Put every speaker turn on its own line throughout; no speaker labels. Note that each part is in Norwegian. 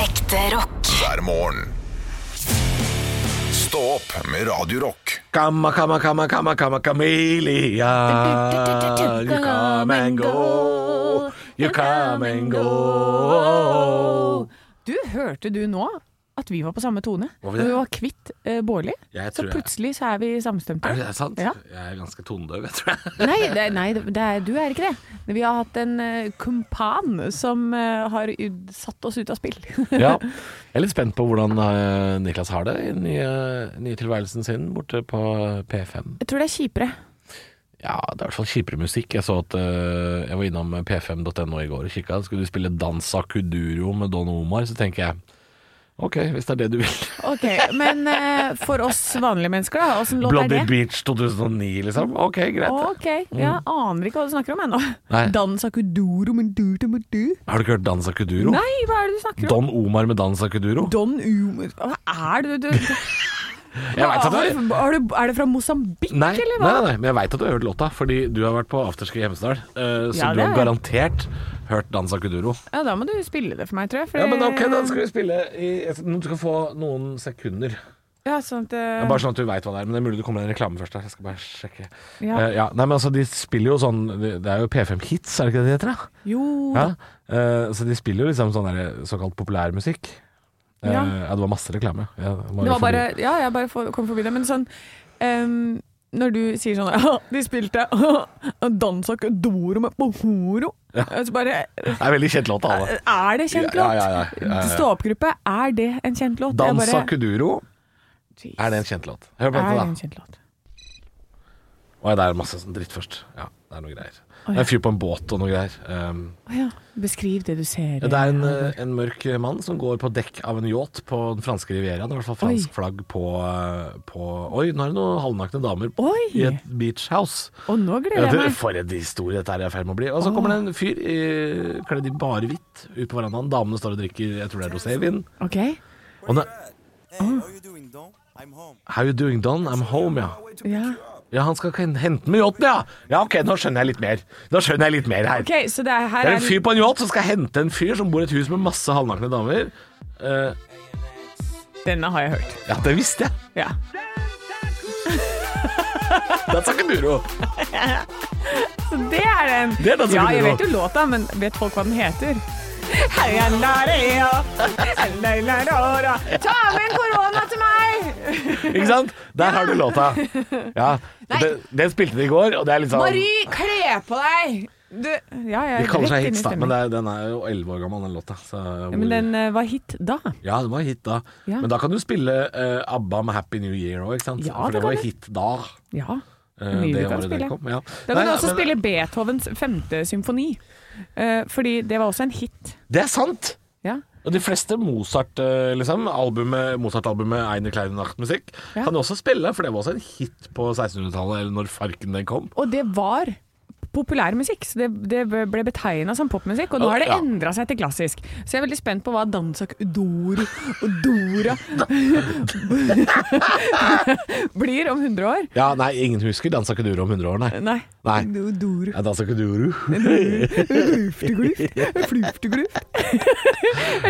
Ekte rock.
hver morgen. Stå opp med Radio Rock.
Kamma, kamma, kamma, kamma, kamma, camellia. Ah, You come and go. You come and go.
Du, hørte du nå at vi var på samme tone?
Var vi det?
Når vi var kvitt eh, Bårli,
Jeg
så
tror jeg-
plutselig så er vi samstemte.
Er det sant?
Ja.
Jeg er ganske tonedøv, jeg tror jeg.
Nei, det, nei det er, du er ikke det. Vi har hatt en eh, kumpan som eh, har ud- satt oss ut av spill.
Ja. Jeg er litt spent på hvordan eh, Niklas har det i den nye, nye tilværelsen sin borte på P5.
Jeg tror det er kjipere.
Ja, det er i hvert fall kjipere musikk. Jeg så at eh, jeg var innom p5.no i går og kikka. Skulle du spille Dansa Kuduro med Don Omar, så tenker jeg OK, hvis det er det du vil.
Ok, Men eh, for oss vanlige mennesker, da, åssen låt er
Bloody
det?
Beach 2009, liksom. OK, greit.
Ok,
Mm.
Jeg aner ikke hva du snakker om ennå.
Nei.
Dansa kuduro men du, du, men du.
Har du ikke hørt Dansa Kuduro?
Nei, hva er det du snakker om?
Don Omar med Dansa Kuduro?
Don Umar Hva er det du, du
Jeg veit at det er
Har du- har du, er det fra Mosambik,
Nei,
eller
nei,
hva?
nei, nei, men jeg veit at du har hørt låta, fordi du har vært på afterski i Hemsedal. eh, så
Ja,
du har
det har jeg.
garantert hørt Dansa Kuduro.
Ja, da må du spille det for meg, tror jeg. For
Ja, men ok, da skal vi spille i Du skal få noen sekunder.
Ja, sånn at
Det
eh,
er bare sånn at du veit hva det er. Men det er mulig det kommer en reklame først. her. Jeg skal bare sjekke.
Ja.
Eh, ja. Nei, men altså, de spiller jo sånn Det det er jo P5 Hits, er det ikke det det heter? da?
Jo
Ja. Eh, så de spiller jo liksom sånn der såkalt populærmusikk. Eh,
Ja.
ja, det var liksom- masse reklame. Ja,
Det var bare Ja, jeg bare for, kom forbi det. Men sånn ehm, Når du sier sånn «Åh, De spilte dansa doro med pohoro. Så bare
Det er veldig kjent låt av
Eh,
alle.
Er det kjent låt?
Ja, ja, ja, ja, ja, ja.
Stå-opp-gruppe, er det en kjent låt? Jeg
Dansa
bare-
Kuduro,
Jeez.
er det en kjent låt? Hør på
Er det
dette,
en
da.
kjent låt?
Oi, det er masse sånn dritt først. Ja, det er noe greier. Det er en fyr på en båt og noe greier. Um,
Å ja. Beskriv det du ser.
Ja, det er en, eh, en mørk mann som går på dekk av en yacht på den franske rivieraen. Det er I hvert fall fransk
Oi.
flagg på, eh, på Oi, nå er det noen halvnakne damer
Oi.
i et beach house.
Og nå gleder
Ja,
jeg
du,
meg.
for en historie dette her er i ferd med å bli. Og så kommer det en fyr eh, kledd i bare hvitt ut på verandaen. Damene står og drikker, jeg tror det er rosévin.
Ok.
Og nå-
Hey, how you doing, Don? I'm home.
How you doing, Don? I'm home, ja.
Ja.
Ja, han skal hen- hente den med yachten, ja. Ja, ok, nå skjønner jeg litt mer. Nå skjønner jeg litt mer her.
Ok, så det er, her
Det er en fyr på en yacht som skal hente en fyr som bor i et hus med masse halvnakne damer. Eh,
Denne har jeg hørt.
ja, det visste jeg.
Ja.
That's a kuduro.
Så det er den.
Det er den som
ja,
blir nå.
jeg vet jo låta, men vet folk hva den heter? Heia, la, rea. La, la, la, ra. Ta med en korona til meg!
Ikke sant? Der har du låta. Ja,
Nei.
den, den spilte de i går, og det er litt sånn
Mari, kle på deg! Du, ja,
De
jeg er
kaller
rett
seg
inn i
hits, da, men
stemmen.
det er, den er jo elleve år gammel, den låta. Så,
Ja, Men den eh, var hit da.
ja, den var hit da.
Ja.
Men da kan du spille eh, ABBA med 'Happy New Year' òg, ikke sant?
Ja,
For
det
det var
kan du.
hit da.
Ja.
eh,
Mye du
det
kan
året det
spille.
kom. Ja. Nei,
Da kan du
ja,
også
men-
spille Beethovens femte symfoni. Eh, fordi det var også en hit.
Det er sant!
Ja.
Og de fleste Mozart, eh, liksom, albumet, Mozart-albumet Eine kleine Nacht-musikk
Ja.
kan du også spille, for det var også en hit på 1600-tallet, eller når Farken den kom.
Og det var populær musikk, så det, det ble betegna som popmusikk. Og nå har det
Ja.
endra seg til klassisk. Så jeg er veldig spent på hva Dansak Udor og Dora blir om 100 år.
Ja, nei, ingen husker Dansa Kuduro om 100 år, nei.
Nei.
Nei.
Dor.
Ja, Dansa Kuduro.
Fluftegluft. Fluftegluft.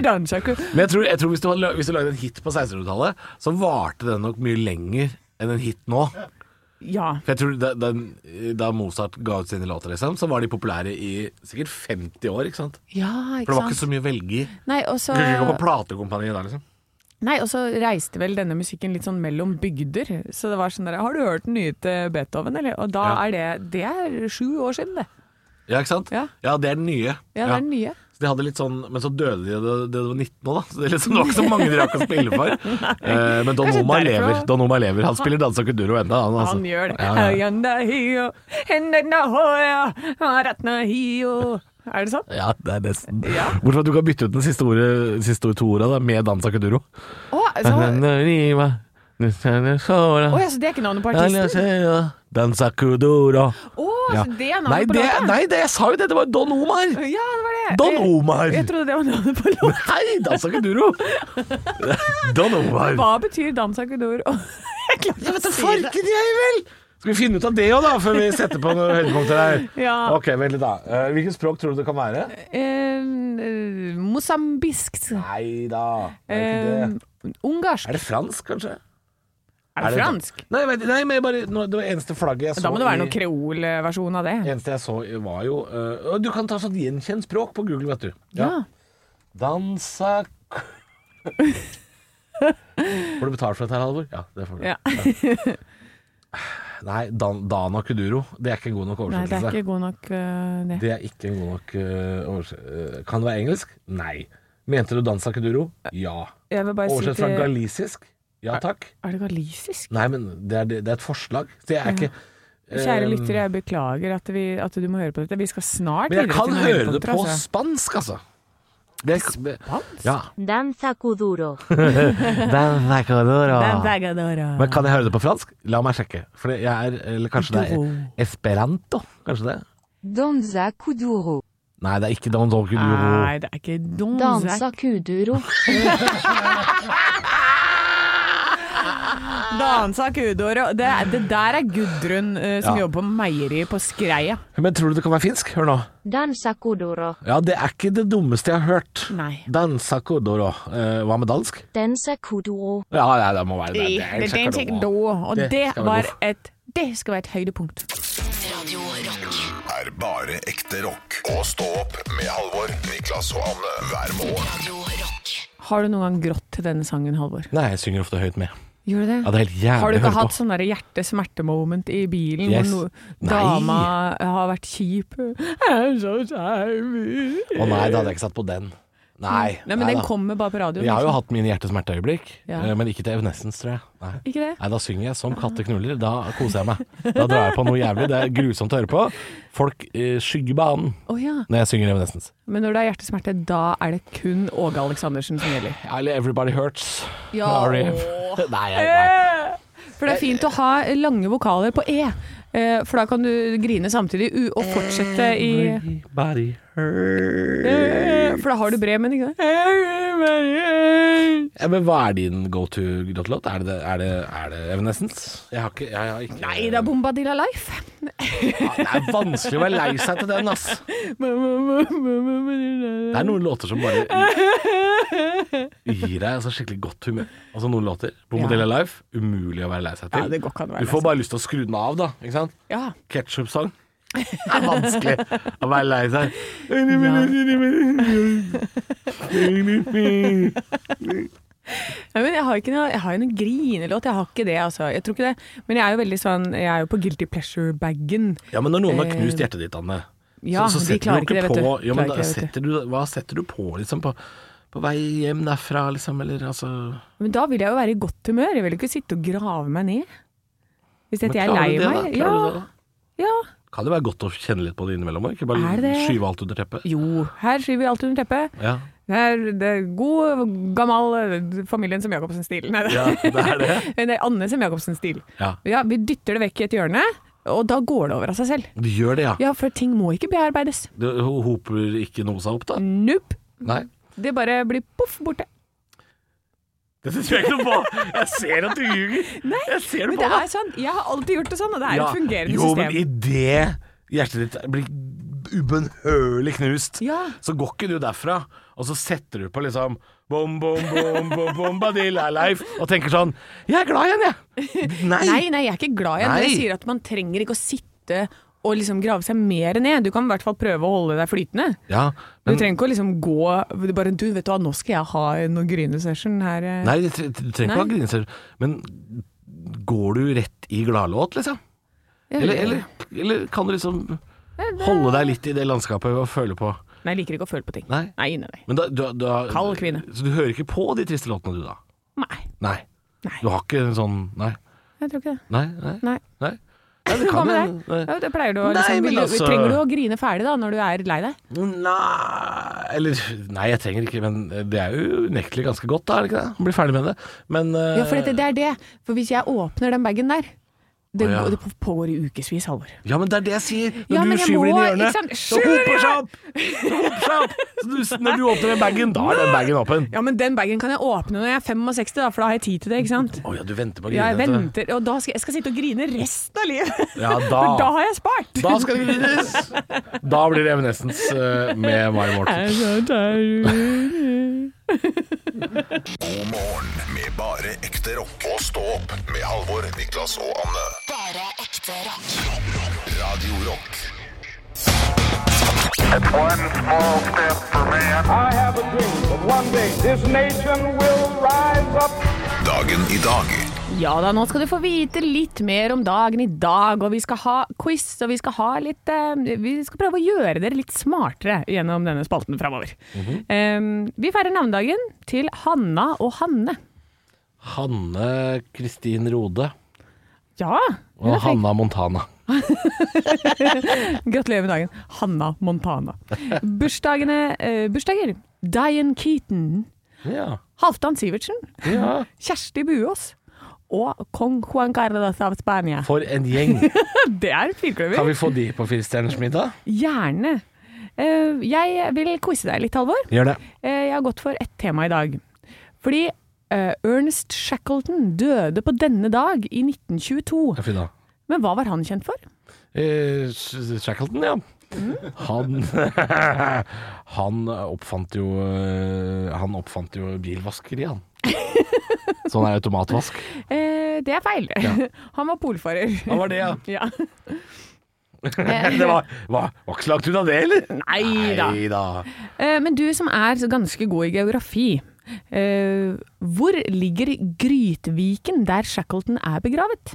Dansak
Men jeg tror, jeg tror hvis, du hadde, la- hvis du lagde en hit på 1600-tallet, så varte den nok mye lenger enn en hit nå.
Ja.
For jeg tror da, den, da Mozart ga ut sine låter, liksom, så var de populære i sikkert 50 år. ikke sant?
Ja,
For det var ikke
ikke sant.
så mye å velge i. Du
Nei, og så
kunne ikke gå på platekompaniet da, liksom.
Nei, og så reiste vel denne musikken litt sånn mellom bygder. Så det var sånn der Har du hørt den nye til Beethoven, eller? Og da
Ja.
er det Det er sju år siden, det.
Ja, ikke sant?
Ja.
det er den nye.
Ja, det er den nye.
Så de hadde litt sånn, Men så døde de da da de var 19 nå, da. Så det, er liksom, det var ikke så mange de rakk å spille for. Eh, men Don
Kanskje
Omar
derfor
lever.
også.
Don Omar lever. Han spiller Dansa Kuduro ennå. Han, altså.
Han gjør det.
Ja, ja.
Ayanda hio, hendena hoya, aratna hio. Er det sånn?
ja, det er nesten.
Ja.
Bortsett fra at du kan bytte ut den siste, ordet, siste to orda da, med Dansa Kuduro.
Å, så, Å,
Dansa
ja, så det er ikke navnet på artisten?
Kuduro.
Å,
Ja.
så det er
Nei,
navnet på
det,
låta?
nei, det, jeg sa jo det! Det var Don Omar!
Ja, det var det.
Don
Jeg-
Omar!
Jeg trodde det var navnet på låta.
Nei, Dansa Kuduro! Don Omar.
Hva betyr dansa kudor? Jeg klarer ikke å si det.
Farken jeg, vel! Skal vi finne ut av det òg, da, før vi setter på noen høydepunkter her?
Ja.
Ok, vent litt, da. Eh, Hvilket språk tror du det kan være?
Eh, Mosambisk.
Nei da. Det er, ikke
Eh,
det.
ungarsk.
er det fransk, kanskje?
Er det fransk?
Nei, jeg vet- nei, men jeg bare, nå- det var eneste flagget jeg så
Da må det være
i-
noen kreolversjon av det.
Eneste jeg så var jo eh, og Du kan ta sånn gjenkjent språk på Google, vet du.
Ja.
Dansa k- Får du betalt for dette her, Halvor? Ja, det får du.
Ja.
Nei, Dan Dana Kuduro. Det er ikke en god nok
Nei, det
oversettelse.
er ikke god nok, eh, det.
Det er ikke en god nok uh, oversettelse. Kan det være engelsk? Nei. Mente du dansa kuduro? Ja.
Jeg vil bare si
Oversett fra
til
galisisk? Ja takk.
Er det galisisk?
Nei, men det er, det er et forslag. Så jeg er ikke
Kjære
eh,
lyttere, jeg beklager at, vi, at du må høre på dette. Vi skal snart
Men jeg
videre
kan
til noen
høre det
høydepunkter,
på
altså.
spansk, altså. Det, spansk? Ja.
Danza Kuduro.
Dansa kuduro. Men
Men
kan jeg høre det på fransk? La meg sjekke. For jeg er Eller kanskje det er esperanto? Kanskje det?
Danza kuduro.
Nei, det er ikke don don kuduro.
Nei, det er ikke donzak.
Danza kuduro.
Dansa kudår. og Det, det der er Gudrun eh, som
Ja.
jobber på meieri på Skreia.
Men tror du det kan være finsk? Hør nå.
Danza Kuduro.
Ja, det er ikke det dummeste jeg har hørt.
Nei.
Dansa kudoro. Eh, hva med dansk?
Danza Kuduro.
Ja, ja, det må være det. Det er
Eh, Det- det er en
sikkert
ting
noe.
da, og
Det
det,
skal vi
var
gå for.
et det skal være et høydepunkt.
Er bare ekte rock. Og stå opp med Halvor, Niklas og Anne hver morgen.
Har du noen gang grått til denne sangen, Halvor?
Nei, jeg synger ofte høyt med.
Gjorde du det?
Ja, det er helt jævlig
Har du
å høre
ikke hatt
på.
sånn der hjerte-smerte-moment i bilen
Yes.
hvor no
Nei.
dama har vært kjip? Jeg er så skeiv.
Å nei, da hadde jeg ikke satt på den. Nei.
Mm. Nei, men
nei
den
da.
kommer bare på radioen.
Jeg har jo
liksom.
hatt mine hjertesmerteøyeblikk,
Ja.
eh, men ikke til Evanescence, tror jeg. Nei.
Ikke det?
Nei, da synger jeg som katteknuller. Da koser jeg meg. Da drar jeg på noe jævlig. Det er grusomt å høre på. Folk eh, skygger banen
Å ja.
når jeg synger Evanescence.
Men når det er hjertesmerte, da er det kun Åge Aleksandersen som gjelder.
Eller Everybody Hurts.
Ja.
R.E.M.. Nei, jeg- nei.
For det er fint å ha lange vokaler på E, eh, for da kan du grine samtidig u- og fortsette i
Everybody Hurts.
Eh, For da har du bremen, ikke sant?
Ja, men hva er din go to-låt? Er, det- er, det- er det Evanescence? Jeg har ikke, jeg har ikke
Nei, det er Bombadilla
Ja,
Life.
Det er vanskelig å være lei seg til den, ass. Det er noen låter som bare gir deg altså, skikkelig godt humør. Altså noen låter. Bombadilla Life, umulig å være lei seg til.
Ja, det går ikke an å være
Du
lei
får
seg.
bare lyst til å skru den av, da. Ikke sant?
Ja.
Ketchup-sang. Det er vanskelig å være lei seg.
Nei, men jeg har ikke noe, jeg har jo noen grinelåt, jeg har ikke det, altså. Jeg tror ikke det. Men jeg er jo veldig sånn, jeg er jo på guilty pleasure-bagen.
Ja, men når noen har knust hjertet ditt, Anne,
Ja,
så, så
de
setter
klarer
du ikke
ikke det, vet
på
du.
jo, men
Klarer
da,
ikke det, vet
setter du, Hva setter du på, liksom? På, på vei hjem derfra, liksom? Eller altså
Men da vil jeg jo være i godt humør, jeg vil jo ikke sitte og grave meg ned. Hvis
Men
dette jeg er
klarer
lei
du det, da?
meg.
Klarer du det,
Ja,
da?
ja.
Kan det være godt å kjenne litt på det innimellom? og Ikke bare
Er det-
skyve alt under teppet?
Jo, her skyver vi alt under teppet.
Ja.
Det er, det er god, gammel eh, familien som Jacobsen-stil. Nei, det
ja, det er det.
Men det er Anne som Jacobsen-stil.
Ja.
Ja, vi dytter det vekk i et hjørne, og da går det over av seg selv.
Du gjør det, ja.
Ja, for ting må ikke bearbeides.
Du ho- hoper ikke noe seg opp,
Mm.
da?
Nope.
Nei.
Det bare blir poff borte.
Dette tror jeg ikke noe på! Jeg ser at du ljuger! Jeg ser
Men
på
det er sånn, jeg har alltid gjort det sånn, og det er
Ja.
et fungerende
jo,
system.
Jo, men idet hjertet ditt blir ubønnhørlig knust,
Ja.
så går ikke du derfra, og så setter du på liksom Bom, bom, bom, bom, bom, badilla life Og tenker sånn Jeg er glad igjen, jeg! Nei!
Nei, nei, jeg er ikke glad i det. Jeg
Nei.
sier at man trenger ikke å sitte og liksom grave seg mer ned. Du kan i hvert fall prøve å holde deg flytende.
Ja,
Du
men,
trenger ikke å liksom gå du bare, du, vet du hva, nå skal jeg ha noen grynesession her. eh.
nei, du tre- du trenger ikke å ha
Nei.
grineser. Men går du rett i gladlåt, liksom?
Jeg
Eller,
vet
eller, eller kan du liksom holde deg litt i det landskapet og føle på
ikke. Nei, jeg liker ikke å føle på ting.
Nei.
Nei, nei, nei.
Men da, da, da
Kald kvinne.
Så du hører ikke på de triste låtene, du, da?
Nei,
Nei.
Nei.
Du har ikke en sånn Nei.
jeg tror ikke det.
Nei, nei.
Nei.
nei. Nei, det
Hva
kan
med
hende.
deg? Ja, det pleier du å
Nei,
liksom,
men
vil, du-
altså-
Trenger du å grine ferdig da, når du er lei deg?
Nei Eller Nei, jeg trenger ikke Men det er jo unektelig ganske godt, da, er det ikke det? Bli ferdig med det. Men eh,
Ja, for dette, det er det. For hvis jeg åpner den bagen der, Det,
Å, ja.
det pågår i ukevis, Halvor.
Ja, men det er det jeg sier! Når
Ja, men
du
jeg
skyver det inn i
må- ikke
hjørnet,
sant?
så hoper seg opp! Det hoper seg opp! Så du, når du åpner den bagen, da er den bagen åpen.
Ja, men den bagen kan jeg åpne når jeg er 65, da, for da har jeg tid til det, ikke sant?
Å ja, du venter på
Ja, jeg
grinete.
venter, og da skal jeg, jeg skal sitte og grine resten av livet.
Ja, da.
For da har jeg spart.
Da skal det grines! Da blir det Evanescence eh, med Mari Morten.
God morgen med bare ekte rock. Og stå opp med Halvor, Niklas og Anne. Bare ekte rock. rock. Radio Rock.
One small step for man. I have a dream that one day this nation will rise up.
Dagen i dag.
Ja da, nå skal du få vite litt mer om dagen i dag, og vi skal ha quiz, og vi skal ha litt eh, Vi skal prøve å gjøre dere litt smartere gjennom denne spalten framover. Eh, vi feirer navnedagen til Hanna og Hanne.
Hanne Kristin Rode
Ja! hun er
og
flink.
Hanna Montana.
Gratulerer med dagen, Hanna Montana. Bursdagene, eh, bursdager. Diane Keaton.
Ja.
Halvdan Sivertsen.
ja.
Kjersti Buås. Og kong Juan Carlos av Spania.
For en gjeng.
Det er et firkløver.
Kan vi få de på Firestjerners middag?
Gjerne. Eh, jeg vil quize deg litt, Halvor.
Gjør det.
Eh, jeg har gått for ett tema i dag. Fordi eh, Ernest Shackleton døde på denne dag i 1922.
Ja, fy da.
Men hva var han kjent for?
Eh, Sh- Shackleton, ja.
Mm.
Han Han oppfant jo eh, Han oppfant jo bilvaskeri, han. Sånn er automatvask.
Eh, det er feil. Han var polfarer.
Han var det, ja.
Ja.
Det var, var, var ikke så langt unna det, eller?
Nei da.
da.
Eh, men du som er så ganske god i geografi. eh, hvor ligger Grytviken der Shackleton er begravet?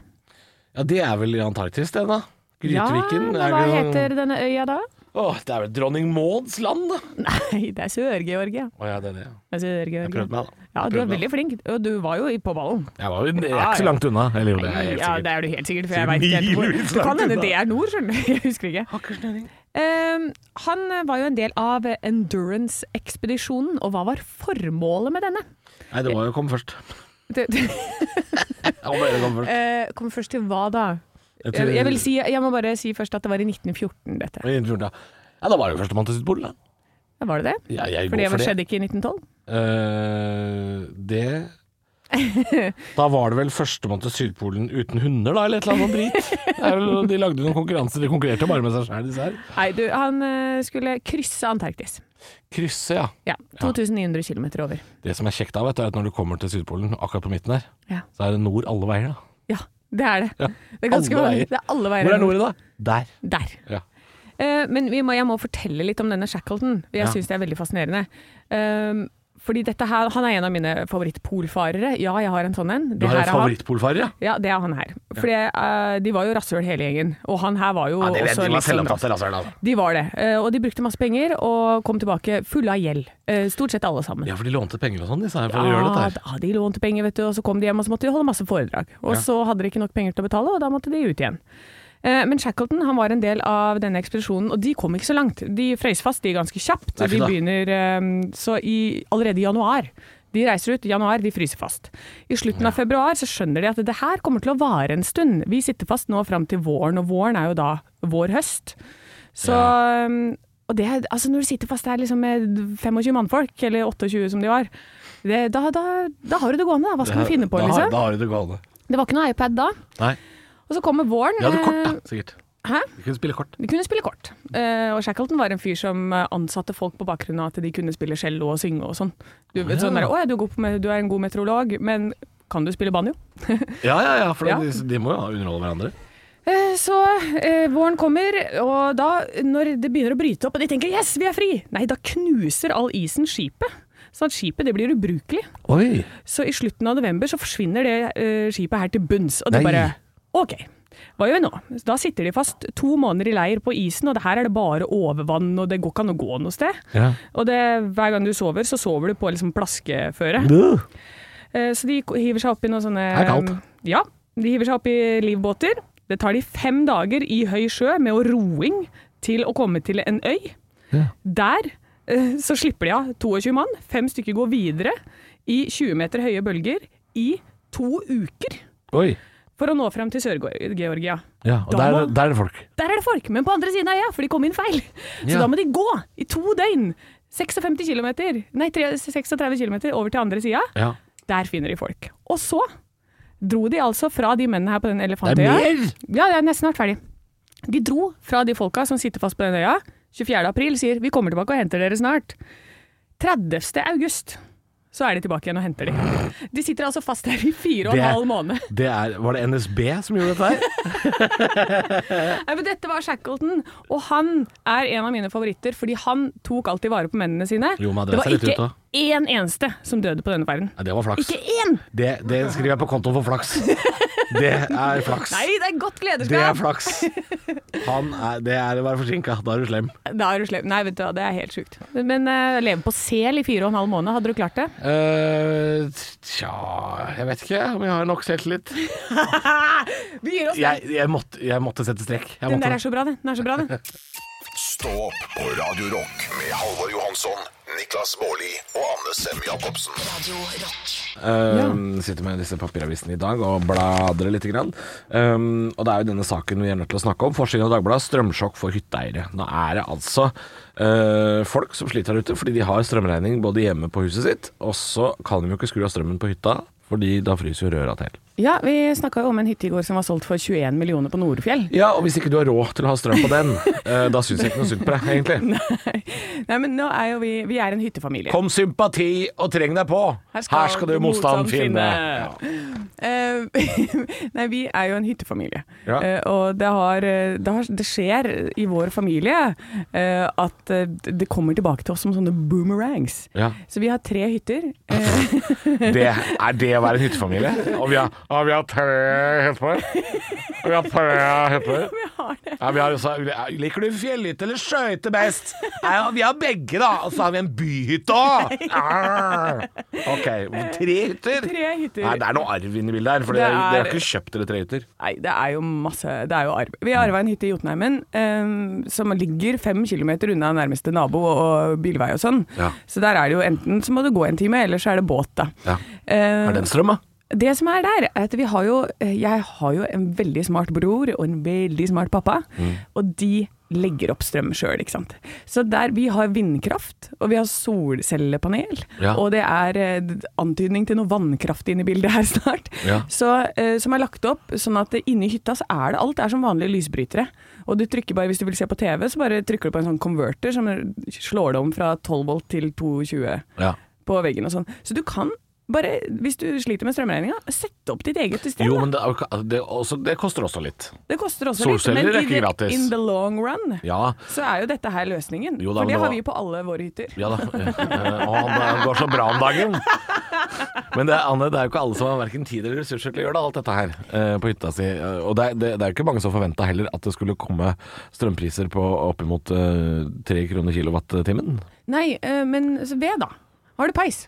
Ja, det er vel i Antarktis, det, da. Gryteviken.
Ja, men
er
hva
det-
heter denne øya da?
Åh, det er vel dronning Mauds land, da.
Nei, det er Sør-Georgia.
Å ja, det er det. ja.
Det er Sør-Georgia.
Jeg prøvde meg, da.
Ja, du
Prøvde
er
meg.
veldig flink, og du var jo i- på ballen.
Jeg var jo jeg er
Ja,
ikke så
ja.
langt unna. Eller jo, det er jeg helt
Ja, det
sikkert.
er du helt sikkert, for jeg veit ikke helt hvor.
Milevis
Det kan
langt
hende
unna.
det er nord, skjønner du. Jeg husker ikke. Ehm, han var jo en del av Endurance-ekspedisjonen, og hva var formålet med denne?
Nei, det var jo kom først.
Det, det
Ja, det kom først.
eh, kom først til hva da? Jeg, jeg, vil si, jeg må bare si først at det var i 1914, dette.
Ja, da var det jo førstemann til sitt bord, da.
Ja, Var det det?
Ja, jeg
For
går
det
for det.
skjedde ikke i 1912?
Eh, det Da var det vel førstemann til Sydpolen uten hunder, da, eller et eller annet drit. Det er vel- De lagde noen konkurranser, de konkurrerte jo bare med seg sjæl, disse her.
Nei, du, han eh, skulle krysse Antarktis.
Krysse, ja.
Ja, 2900 km over.
Det som er kjekt da, vet du, er at når du kommer til Sydpolen, akkurat på midten der,
Ja.
så er det nord alle veier, da.
Ja, det er det. Det er ganske
alle
mange.
veier.
Det er alle veier.
Hvor er nordet, da? Der.
Der.
Ja.
Eh, men vi må, jeg må fortelle litt om denne Shackleton. Jeg
Ja.
synes syns det er veldig fascinerende. Um, fordi dette her, Han er en av mine favorittpolfarere. Ja, jeg har en sånn en.
Du
Det
har
her
en
er han.
favorittpolfarer, ja?
Ja, det er han her. Fordi eh, De var jo rasshøl hele gjengen. Og han her var jo også litt sånn rass- De var det. Eh, og de brukte masse penger og kom tilbake fulle av gjeld. Eh, stort sett alle sammen.
Ja, for de lånte penger og sånn, disse her, for å gjøre dette her.
da, de lånte penger, vet du, og så kom de hjem og så måtte de holde masse foredrag. Og
Ja.
så hadde de ikke nok penger til å betale, og da måtte de ut igjen. Eh, Men Shackleton han var en del av denne ekspedisjonen, og de kom ikke så langt. De frøys fast de ganske kjapt.
Nei, fy
de
da.
begynner eh, så i, allerede i januar. De reiser ut i januar, de fryser fast. I slutten av februar så skjønner de at det her kommer til å vare en stund. Vi sitter fast nå fram til våren, og våren er jo da vår høst. Så um, og det, er- altså Når du sitter fast der liksom med 25 mannfolk, eller 28 som de var, det, da, da, da har du det gående. da. Hva skal du finne på?
da,
liksom?
Da har du det gående.
Det var ikke noe iPad da.
Nei.
Og så kommer våren.
De hadde kort, da,
eh,
sikkert.
Hæ?
De kunne spille kort.
De kunne spille kort. Eh, og Shackleton var en fyr som eh, ansatte folk på bakgrunn av at de kunne spille cello og synge og sånn. Du vet sånn der, 'Å ja, du er, god på me- du er en god meteorolog, men kan du spille banjo?'
Ja, ja, ja, for
Ja.
De, de må jo underholde hverandre.
Eh, Så eh, våren kommer, og da når det begynner å bryte opp, og de tenker 'yes, vi er fri', nei, da knuser all isen skipet. Sånn at skipet det blir ubrukelig.
Oi!
Så i slutten av november så forsvinner det eh, skipet her til bunns, og de
Nei.
bare OK. Hva gjør vi nå? Da sitter de fast to måneder i leir på isen, og det her er det bare overvann, og det går ikke an å gå noe sted.
Ja.
Og det, hver gang du sover, så sover du på liksom plaskeføre. Eh, Så de ko- hiver seg opp i noen sånne eh,
Det er kaldt.
Ja, de hiver seg opp i livbåter. Det tar de fem dager i høy sjø med å roing til å komme til en øy.
Ja.
Der eh, så slipper de av 22 mann. Fem stykker går videre i 20 meter høye bølger i to uker.
Oi.
for å nå frem til Sør-Georgia.
Ja, og
Da
der,
må-
der er det folk.
Der er det folk, men på andre siden av øya, for de kom inn feil. Så
Ja.
da må de gå i to døgn. 56 km, nei 3 36 km over til andre sida.
Ja.
Der finner de folk. Og så dro de altså fra de mennene her på den
Det er
elefantøya.
mer!
Ja, jeg er nesten snart ferdig. De dro fra de folka som sitter fast på den øya. 24. april sier 'vi kommer tilbake og henter dere snart'. 30. august så er de tilbake igjen og henter de. De sitter altså fast der i fire og en
Det-
halv måned.
Det er, var det NSB som gjorde dette her?
Nei, men dette var Shackleton, og han er en av mine favoritter, fordi han tok alltid vare på mennene sine.
Jo, men han
det
drev
var
seg litt ut,
ikke
da.
én eneste som døde på denne verden.
Nei, det var flaks.
Ikke én!
Det, det skriver jeg på kontoen for flaks. Det er flaks.
Nei, det er godt
Det er
glederskap!
flaks. Han er, det er å være forsinka. Da er du slem.
Da er du slem. Nei, vet du hva, det er helt sjukt. Men eh, leve på sel i fire og en halv måned, hadde du klart det?
eh tja Jeg vet ikke om jeg har nok selvtillit.
Vi gir oss der.
Jeg, jeg, måtte, jeg måtte sette strek. Jeg
Den
måtte
der er
det.
så bra, den. Den er så bra, den.
Stå opp på Radio Rock med Halvor Johansson, Niklas Baarli og Anne Sem Jacobsen.
Um, Sitter med disse papiravisene i dag og bladrer litt. Grann. Um, og det er jo denne saken vi er nødt til å snakke om. Forsiden av Dagbladet 'Strømsjokk for hytteeiere'. Nå er det altså eh, folk som sliter der ute fordi de har strømregning både hjemme på huset sitt, og så kan de jo ikke skru av strømmen på hytta, fordi da fryser jo røra til.
Ja, vi snakka jo om en hytte i går som var solgt for 21 millioner på Norefjell.
Ja, og hvis ikke du har råd til å ha strøm på den, eh, da syns jeg ikke noe synd på deg, egentlig.
Nei, men nå er jo vi Vi er en hyttefamilie.
Kom sympati og treng deg på! Her skal, du motstand finne. Ja.
Eh, Nei, vi er jo en hyttefamilie.
Ja.
Eh, og det, har, eh, det, har, det skjer i vår familie eh, at eh, det kommer tilbake til oss som sånne boomerangs.
Ja.
Så vi har tre hytter. Eh,
Det er det å være en hyttefamilie. Og vi har, og vi har tre hytter. Og vi har tre hytter.
vi har det.
Ja, vi har også, liker du fjellhytte eller sjøhytte best? Nei, ja, vi har begge, da. Og så har vi en byhytte òg. OK. Tre hytter?
Tre hytter.
Nei, det er noe arv inne i bildet her. For
Det
dere dere har
er-
ikke kjøpt dere tre hytter.
Nei, det er jo masse Det er jo arv. Vi arva en hytte i Jotunheimen eh, som ligger fem kilometer unna nærmeste nabo og, og bilvei og sånn.
Ja.
Så der er det jo enten så må du gå en time, eller så er det båt, da.
Ja.
Eh,
Er den strøm, da?
det som er der, er at vi har jo eh, Jeg har jo en veldig smart bror og en veldig smart pappa,
Mm.
og de legger opp strøm sjøl, ikke sant. Så der vi har vindkraft, og vi har solcellepanel,
Ja.
og det er eh, antydning til noe vannkraft inne i bildet her snart,
Ja.
så, eh, som er lagt opp sånn at inni hytta så er det alt er som vanlige lysbrytere. Og du trykker bare, hvis du vil se på TV, så bare trykker du på en sånn converter som slår det om fra 12 volt til 220
Ja.
på veggen og sånn. Så du kan bare, hvis du sliter med strømregninga, sette opp ditt eget system.
Jo,
da.
men det, er jo ikke- det, er også, det koster også litt.
det koster også
solceller
litt, men
er
i
ikke
det-
gratis.
in the long run
Ja,
så er jo dette her løsningen.
Jo da, men
For det
det
har
var-
vi på alle våre hytter.
ja da. Eh, eh, Og han eh, går så bra om dagen. Men det, er- Anne, det er jo ikke alle som har verken tid eller ressurser til å gjøre det, alt dette her eh, på hytta si. Eh, Og det, er- det, det er jo ikke mange som forventa heller at det skulle komme strømpriser på oppimot eh, tre kroner kilowattimen.
Nei, eh, men så ved, da. Har du peis?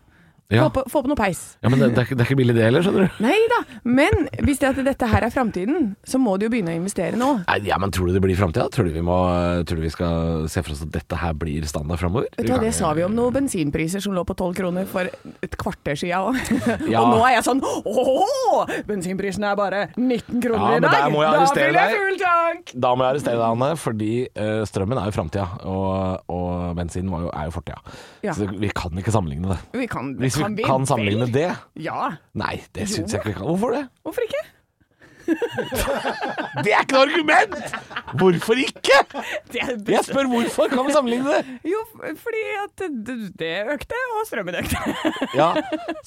Ja.
Få, på, få på noe peis.
ja, men det, det, er ikke, det er ikke billig det heller, skjønner du.
Nei da, men hvis det at dette her er framtiden, så må du jo begynne å investere nå.
Nei, ja, men Tror du det blir framtida? Tror, du vi må- tror du vi skal se for oss at dette her blir standard framover?
Vet du hva, Det sa vi om noen bensinpriser som lå på tolv kroner for et kvarter siden òg.
Ja.
Og nå er jeg sånn ååå, bensinprisen er bare 19
Ja,
kroner i
men
dag!
der må jeg
da
arrestere
fyller jeg
deg.
full tank!
Da må jeg arrestere deg, Anne, fordi eh, strømmen er jo framtida, og, og bensinen var jo, er jo fortida.
Ja.
Så vi kan ikke sammenligne det.
Vi kan,
Hvis vi
kan,
kan sammenligne det
Ja,
Nei, det syns jeg ikke vi kan. Hvorfor det?
hvorfor ikke?
Det er ikke noe argument! Hvorfor ikke?
Det er det
Jeg
beste.
spør hvorfor kan vi sammenligne det?
Jo, fordi at det- det økte, og strømmen økte.
Ja,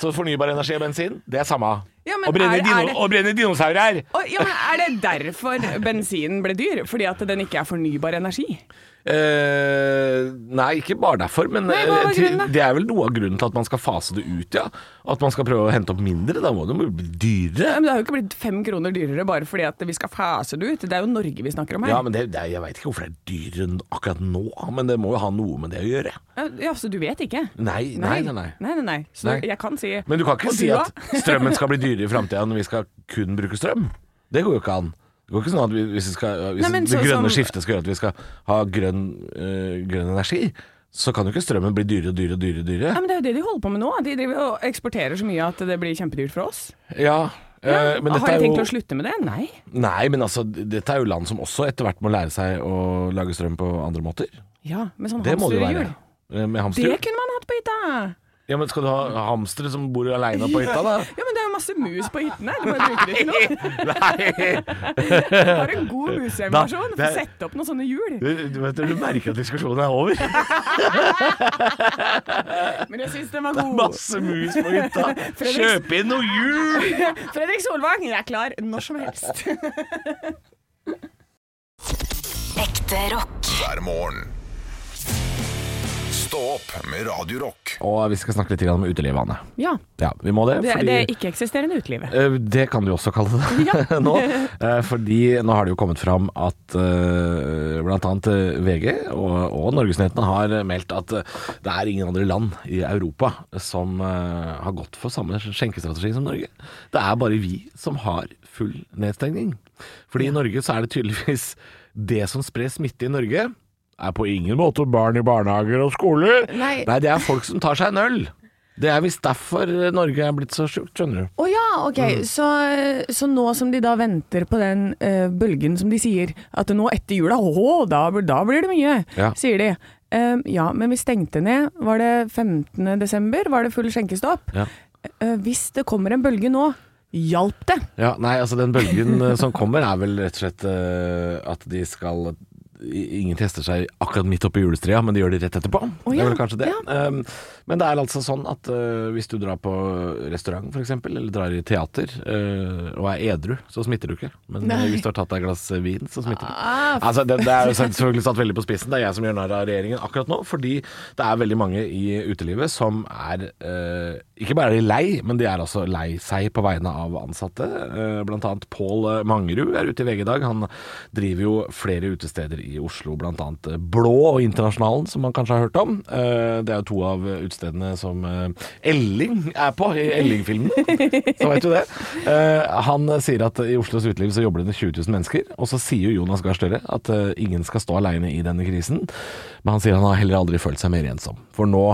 Så fornybar energi og bensin, det er samme.
Ja, men
å, brenne
er det-
dino-
er det-
å brenne dinosaurer!
Og, ja, men Er det derfor bensinen ble dyr? Fordi at den ikke er fornybar energi?
Eh, nei, ikke bare derfor, men
Nei, hva var
eh, til-
grunnen da?
det er vel noe av grunnen til at man skal fase det ut, ja. At man skal prøve å hente opp mindre. Da må det jo bli dyrere.
Ja, Men Det har jo ikke blitt fem kroner dyrere bare fordi at vi skal fase det ut. Det er jo Norge vi snakker om her.
Ja, men det, det, er- Jeg veit ikke hvorfor det er dyrere enn akkurat nå, men det må jo ha noe med det å gjøre.
Ja, Så du vet ikke?
Nei, nei, nei. nei.
nei, nei, nei. Så
Nei.
jeg kan si
Men du kan ikke
Og
si
du,
at
da?
strømmen skal bli dyrere i framtida når vi skal kun bruke strøm. Det går jo ikke an. Det går ikke sånn at vi, hvis, vi skal, hvis
Nei, men
det
så- sånn-
grønne
som-
skiftet skal gjøre at vi skal ha grønn, øh, grønn energi, så kan jo ikke strømmen bli dyrere og dyrere og dyrere.
Ja, men Det er jo det de holder på med nå. De driver og eksporterer så mye at det blir kjempedyrt for oss.
Ja, Eh, men
Har
dette
de
er
tenkt
jo,
å slutte med det? Nei.
nei, men altså, dette er jo land som også etter hvert må lære seg å lage strøm på andre måter.
Ja, men sånn
Det må det jo være.
hamsterhjul.
Eh, Med hamster?
Det kunne man hatt på hytta!
Ja, men Skal du ha hamstere som bor aleine på hytta, da?
Ja, men det er jo masse mus på hyttene. Du bare bruker det til noe.
Nei!
Har en god museinvasjon.
Da-
Få
det er-
sette opp noen sånne hjul.
Du, du, vet, du merker at diskusjonen er over.
Men jeg syns den var god.
Masse mus på hytta.
Fredriks-
Kjøp inn noe hjul!
Fredrik Solvang, jeg er klar når som helst.
Ekte rock.
hver morgen. Stå opp med Radio Rock.
Og vi skal snakke litt grann om utelivet, Anne.
Ja.
Ja, vi må det.
Det,
fordi-
det er ikke-eksisterende utelivet.
Eh, Det kan du også kalle det nå. Eh, Fordi nå har det jo kommet fram at eh, blant annet eh, VG og, og Norgesnyhetene har meldt at eh, det er ingen andre land i Europa som eh, har gått for samme skjenkestrategi som Norge. Det er bare vi som har full nedstengning. Fordi i Norge så er det tydeligvis det som sprer smitte i Norge, er på ingen måte barn i barnehager og skoler.
Nei.
Nei det er folk som tar seg en øl. Det er visst derfor Norge er blitt så sjukt, skjønner du.
Å ja, ok.
Mm.
Så, så nå som de da venter på den eh, bølgen som de sier, at nå etter jula, åh, da, bl- da blir det mye,
Ja.
sier de. Ehm, ja, men vi stengte ned. Var det 15. desember? Var det full skjenkestopp?
Ja.
Eh, hvis det kommer en bølge nå, hjalp det?
Ja, nei, altså den bølgen eh, som kommer er vel rett og slett eh, at de skal i- Ingen tester seg akkurat midt oppi julestria, men de gjør det rett etterpå. Det
ja,
er vel kanskje det.
ja.
Um, men det er altså sånn at eh, hvis du drar på eh, restaurant f.eks., eller drar i teater eh, og er edru, så smitter du ikke. Men eh,
Nei.
hvis du har tatt deg et glass eh, vin, så smitter du.
Ah,
Altså, det, det er jo selvfølgelig satt veldig på spissen. Det er jeg som gjør narr av regjeringen akkurat nå, fordi det er veldig mange i utelivet som er eh, Ikke bare er de lei, men de er også lei seg på vegne av ansatte. Eh, blant annet Pål Mangerud er ute i VG i dag. Han driver jo flere utesteder i Oslo, blant annet Blå og Internasjonalen, som man kanskje har hørt om. Eh, det er jo to av utestedene som eh, Elling er på, i Elling-filmen. Så vet du det. Eh, han sier at i Oslos uteliv så jobber det 20 000 mennesker. Og så sier jo Jonas Gahr Støre at eh, ingen skal stå alene i denne krisen. Men han sier han har heller aldri følt seg mer ensom. For nå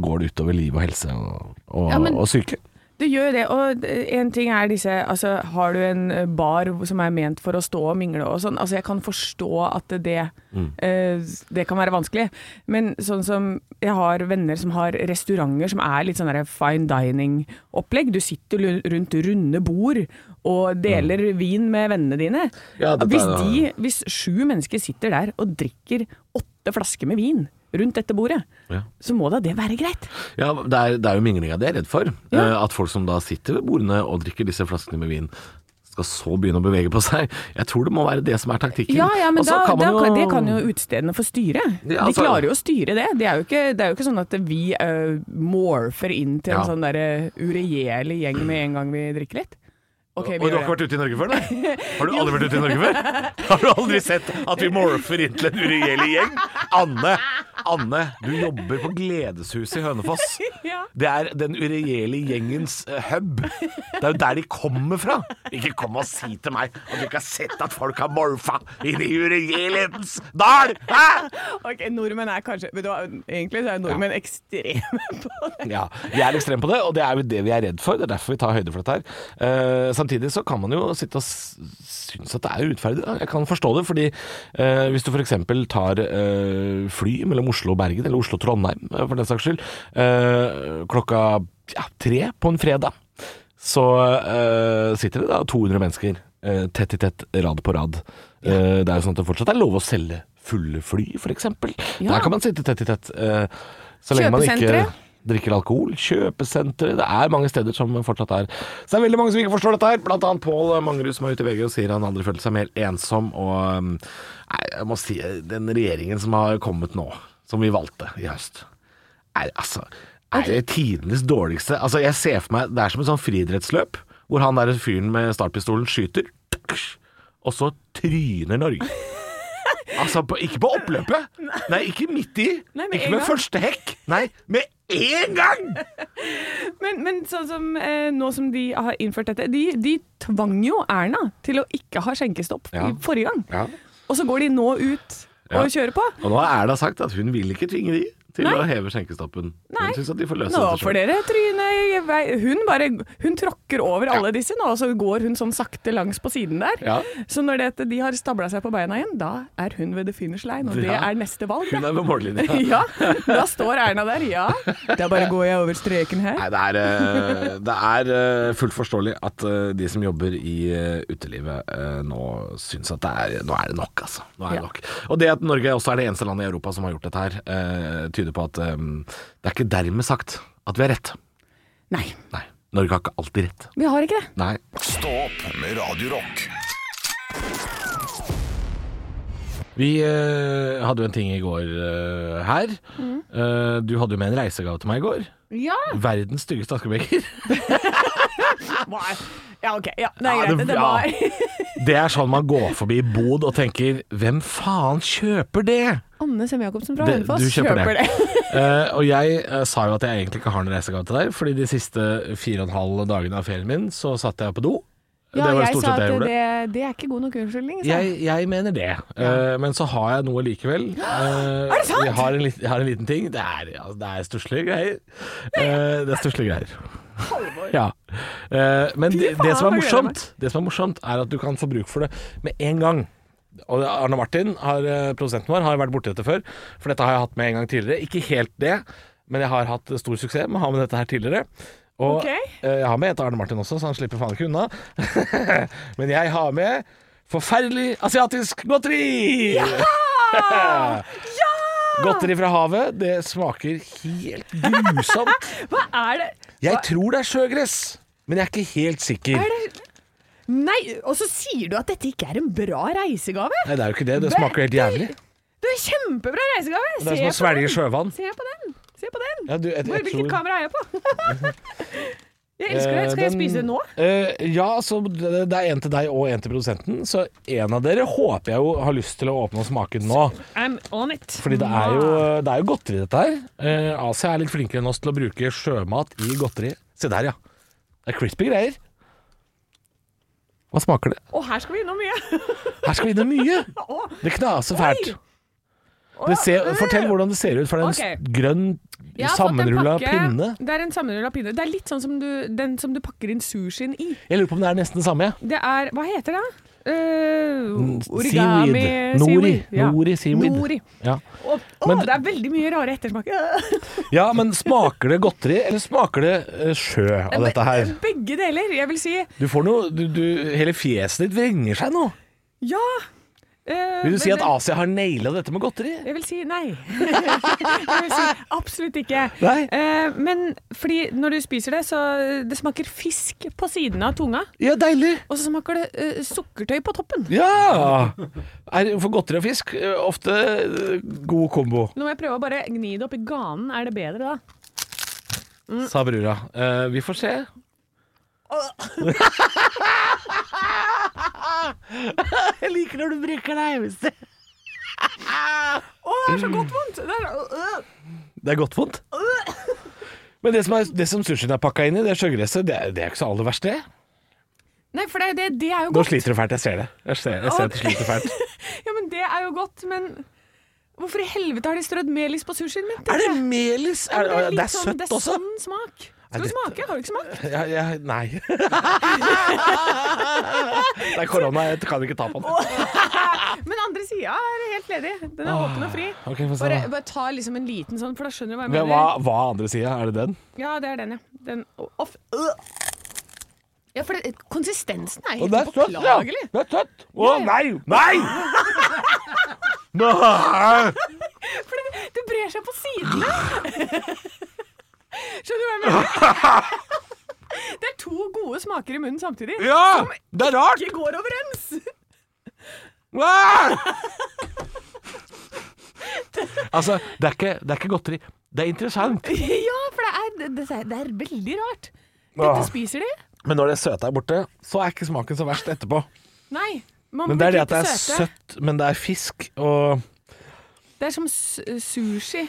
går det utover liv og helse og, og,
Ja, men-
og syke.
Det gjør jo det, og en ting er disse altså, Har du en bar som er ment for å stå og mingle og sånn? Altså, jeg kan forstå at det,
Mm.
eh, det kan være vanskelig, men sånn som Jeg har venner som har restauranter som er litt sånn der fine dining-opplegg. Du sitter lu- rundt runde bord og deler vin med vennene dine.
Mm. Ja, dette er-
hvis, de, hvis sju mennesker sitter der og drikker åtte flasker med vin rundt dette bordet,
Ja.
så må da det være greit?
Ja, det er, det er jo minglinga de er redd for. Eh, at folk som da sitter ved bordene og drikker disse flaskene med vin, skal så begynne å bevege på seg. Jeg tror det må være det som er taktikken.
Ja, ja, men
Og så
da,
kan man
da, kan- det kan jo utstedene få styre.
Ja,
de
altså-
klarer jo å styre det. Det er jo ikke, det er jo ikke sånn at vi uh, morfer inn til
Ja.
en sånn derre uregjerlig gjeng med en gang vi drikker litt. Ok,
Oi,
vi
du har ikke
gjør det.
vært ute i Norge før, nei? Har du aldri vært ute i Norge før? Har du aldri sett at vi morfer inn til en uregjerlig gjeng? Anne, Anne, du jobber på Gledeshuset i Hønefoss.
Ja.
Det er den uregjerlige gjengens eh, hub. Det er jo der de kommer fra. Ikke kom og si til meg at du ikke har sett at folk har morfa inn i uregjerlighetens dal! Hæ?
Ok, nordmenn er kanskje vet du, hva, Egentlig så er nordmenn ekstreme på det.
Ja, vi er ekstreme på det, og det er jo det vi er redd for. Det er derfor vi tar høyde for dette her. Eh, samtidig så kan man jo sitte og s- synes at det er urettferdig. da. Jeg kan forstå det, fordi eh, hvis du f.eks. tar eh, fly mellom Oslo og Bergen, eller Oslo og Trondheim eh, for den saks skyld, eh, klokka ja, tre på en fredag, så eh, sitter det da 200 mennesker eh, tett i tett, rad på rad. Eh, det er jo sånn at det fortsatt er lov å selge fulle fly, f.eks.
Ja.
Der kan man sitte tett i tett. eh, så lenge man ikke
Kjøpesentre.
drikker alkohol. Kjøpesentre. Det er mange steder som fortsatt er Så det er veldig mange som ikke forstår dette her. Blant annet Pål Mangerud som er ute i VG og sier han aldri følte seg mer ensom. Og um, nei, jeg må si den regjeringen som har kommet nå, som vi valgte i høst, er altså er det tidenes dårligste Altså, jeg ser for meg Det er som et sånn friidrettsløp hvor han der fyren med startpistolen skyter, og så tryner Norge. Altså, på, ikke på oppløpet. Nei, ikke midt i.
Nei, med
ikke
en
med
gang.
første hekk. Nei, med én gang!
Men, men sånn som eh, nå som de har innført dette De, de tvang jo Erna til å ikke ha skjenkestopp
Ja.
i forrige gang. Og så går de nå ut
Ja.
og kjører på.
Og nå har Erna sagt at hun vil ikke tvinge de, til
Nei.
å heve skjenkestappen.
Nei.
Hun syns at de får løse
Nå
dette selv.
får dere trynet i vei. Hun bare Hun tråkker over alle disse nå, og så går hun sånn sakte langs på siden der.
Ja.
Så når det, de har stabla seg på beina igjen, da er hun ved the finish line, og det
Ja.
er neste valg.
Hun
Da.
er ved mållinja.
Ja, da står Erna der. Ja, da bare går jeg over streken her.
Nei, det er, eh, det er eh, fullt forståelig at eh, de som jobber i eh, utelivet eh, nå syns at det er, nå er det nok, altså. Nå er det
Ja.
nok. Og det at Norge også er det eneste landet i Europa som har gjort dette her, eh, tyder på at eh, det er ikke dermed sagt at vi har rett.
Nei,
Nei. Norge har ikke alltid rett.
vi har ikke det.
Nei.
Stå opp med Radio Rock.
Vi eh, hadde jo en ting i går eh, her. Eh, du hadde jo med en reisegave til meg i går.
Mm. Ja.
Verdens styggeste askebeker.
Ja, OK. Ja, det er
Ja,
greit.
Ah. det-
Det var
ja. Det er sånn man går forbi bod og tenker 'hvem faen kjøper det?'
Anne Semme-Jacobsen fra
Det-
Hønefoss
du kjøper det.
kjøper det.
Eh, og jeg eh, sa jo at jeg egentlig ikke har noen reisegave til deg, fordi de siste fire og en halv dagene av ferien min så satt jeg på do.
Ja,
det var
jeg
stort
sa
sett det jeg
at
gjorde.
det, det er ikke god nok unnskyldning. sa
Jeg, jeg mener det, Eh, men så har jeg noe likevel. er
det sant?
Jeg har en, lit- jeg har en liten ting. Det er, ja, det er stusslige greier. Eh, det er stusslige greier. Ja. Eh, men det,
faen,
det, som er
nå gleder jeg meg.
morsomt, det som er morsomt, er at du kan få bruk for det med en gang. Og Arne Martin, har, eh, produsenten vår, har vært borti dette før, for dette har jeg hatt med en gang tidligere. Ikke helt det, men jeg har hatt stor suksess med å ha med dette her tidligere. Og
Ok.
eh, jeg har med et Arne Martin også, så han slipper faen ikke unna. Men jeg har med forferdelig asiatisk godteri!
Ah, ja!
Godteri fra havet, det smaker helt grusomt.
Hva er det?
Jeg tror det er sjøgress, men jeg er ikke helt sikker.
Er det Nei, og så sier du at dette ikke er en bra reisegave?
Nei, det er jo ikke det. Det smaker helt jævlig.
Du er kjempebra reisegave!
Det er som å
Se på den!
svelge sjøvann.
Se på den! Se på den!
Ja, du, jeg-
Hvor,
jeg
hvilket
tror-
kamera er jeg på? jeg elsker det.
Eh,
Skal jeg
den-
spise det nå?
Eh, ja, så det det er en til deg og en til produsenten. Så en av dere håper jeg jo har lyst til å åpne og smake den nå.
I'm on it.
Fordi det er jo, det er jo godteri, dette her. Eh, Asia er litt flinkere enn oss til å bruke sjømat i godteri. Se der, ja. Det er crispy greier. Hva smaker det?
Og her skal vi innom mye.
Her skal vi inn i mye!
Å,
Det knaser fælt.
Oi. å,
Det ser,
øh.
fortell hvordan det ser ut, for det er en
Ok.
s- grønn,
Jeg har fått en
sammenrulla
pakke-
pinne.
Det er en sammenrulla pinne. Det er litt sånn som du, den som du pakker inn sushien i.
Jeg lurer på om det er nesten det samme.
Det er Hva heter det? Uh,
Seaweed.
origami
Nori.
ja.
Nori seaweed.
Nori.
Ja.
Å, å,
Men-
det er veldig mye rare ettersmak.
ja, men smaker det godteri, eller smaker det eh, sjø av dette her?
Begge deler. Jeg vil si
Du får noe du, du, Hele fjeset ditt vrenger seg nå.
ja. eh,
Vil du si
men-
at Asia har naila dette med godteri?
Jeg vil si nei. jeg vil si absolutt ikke.
Nei.
Eh, men fordi når du spiser det, så eh, det smaker fisk på siden av tunga.
Ja, deilig!
Og så smaker det eh, sukkertøy på toppen.
Ja! Er, for godteri og fisk, eh, ofte eh, god kombo,
Nå må jeg prøve å bare gni det opp i ganen. Er det bedre da?
sa brura. Eh, vi får se. Jeg liker når du bruker deg, Øystein.
Å, det
Mm.
er så godt vondt! Det er, øh,
Det er godt vondt. Men det som, er, det som sushien er pakka inn i, det sjøgresset, det, er- det er ikke så aller verst, det.
Nei, for det, er- det, det er jo
Nå
godt.
sliter du fælt, jeg ser det. Jeg ser, jeg ser at du sliter fælt.
Ja, men det er jo godt, men Hvorfor i helvete har de strødd melis på sushien min?
Er det melis? Er, det er,
litt sånn-
søtt
det er
også.
Sånn smak. Skal
Er
du
dette-
smake? Har du ikke smakt?
Ja, ja, nei. det er korona, jeg kan ikke ta på den.
Men andre sida er helt ledig. Den er åpen og fri.
Ok, få se
Bare,
da.
bare ta liksom en liten sånn, for da skjønner du hva
Men
jeg mener.
hva, hva andre sida? Er det den?
Ja, det er den, ja. Den off. Øh. Ja, for det, konsistensen er
Å,
helt upåklagelig.
Det er søtt! Å nei! Nei! Nei!
For det, det brer seg på sidene. Skjønner du hva jeg mener? Det er to gode smaker i munnen samtidig.
Ja! Det er rart!
Ikke går overens.
Ah! Altså, det er, ikke, det er ikke godteri. Det er interessant.
Ja, for det er, det, er, det er veldig rart.
Ah.
Dette spiser de.
Men når det søte er borte, så er ikke smaken så verst etterpå.
Nei. Man
Men det er det
blir
at det
ikke
er
søte.
søtt, men det er fisk, og
Det er som s- sushi.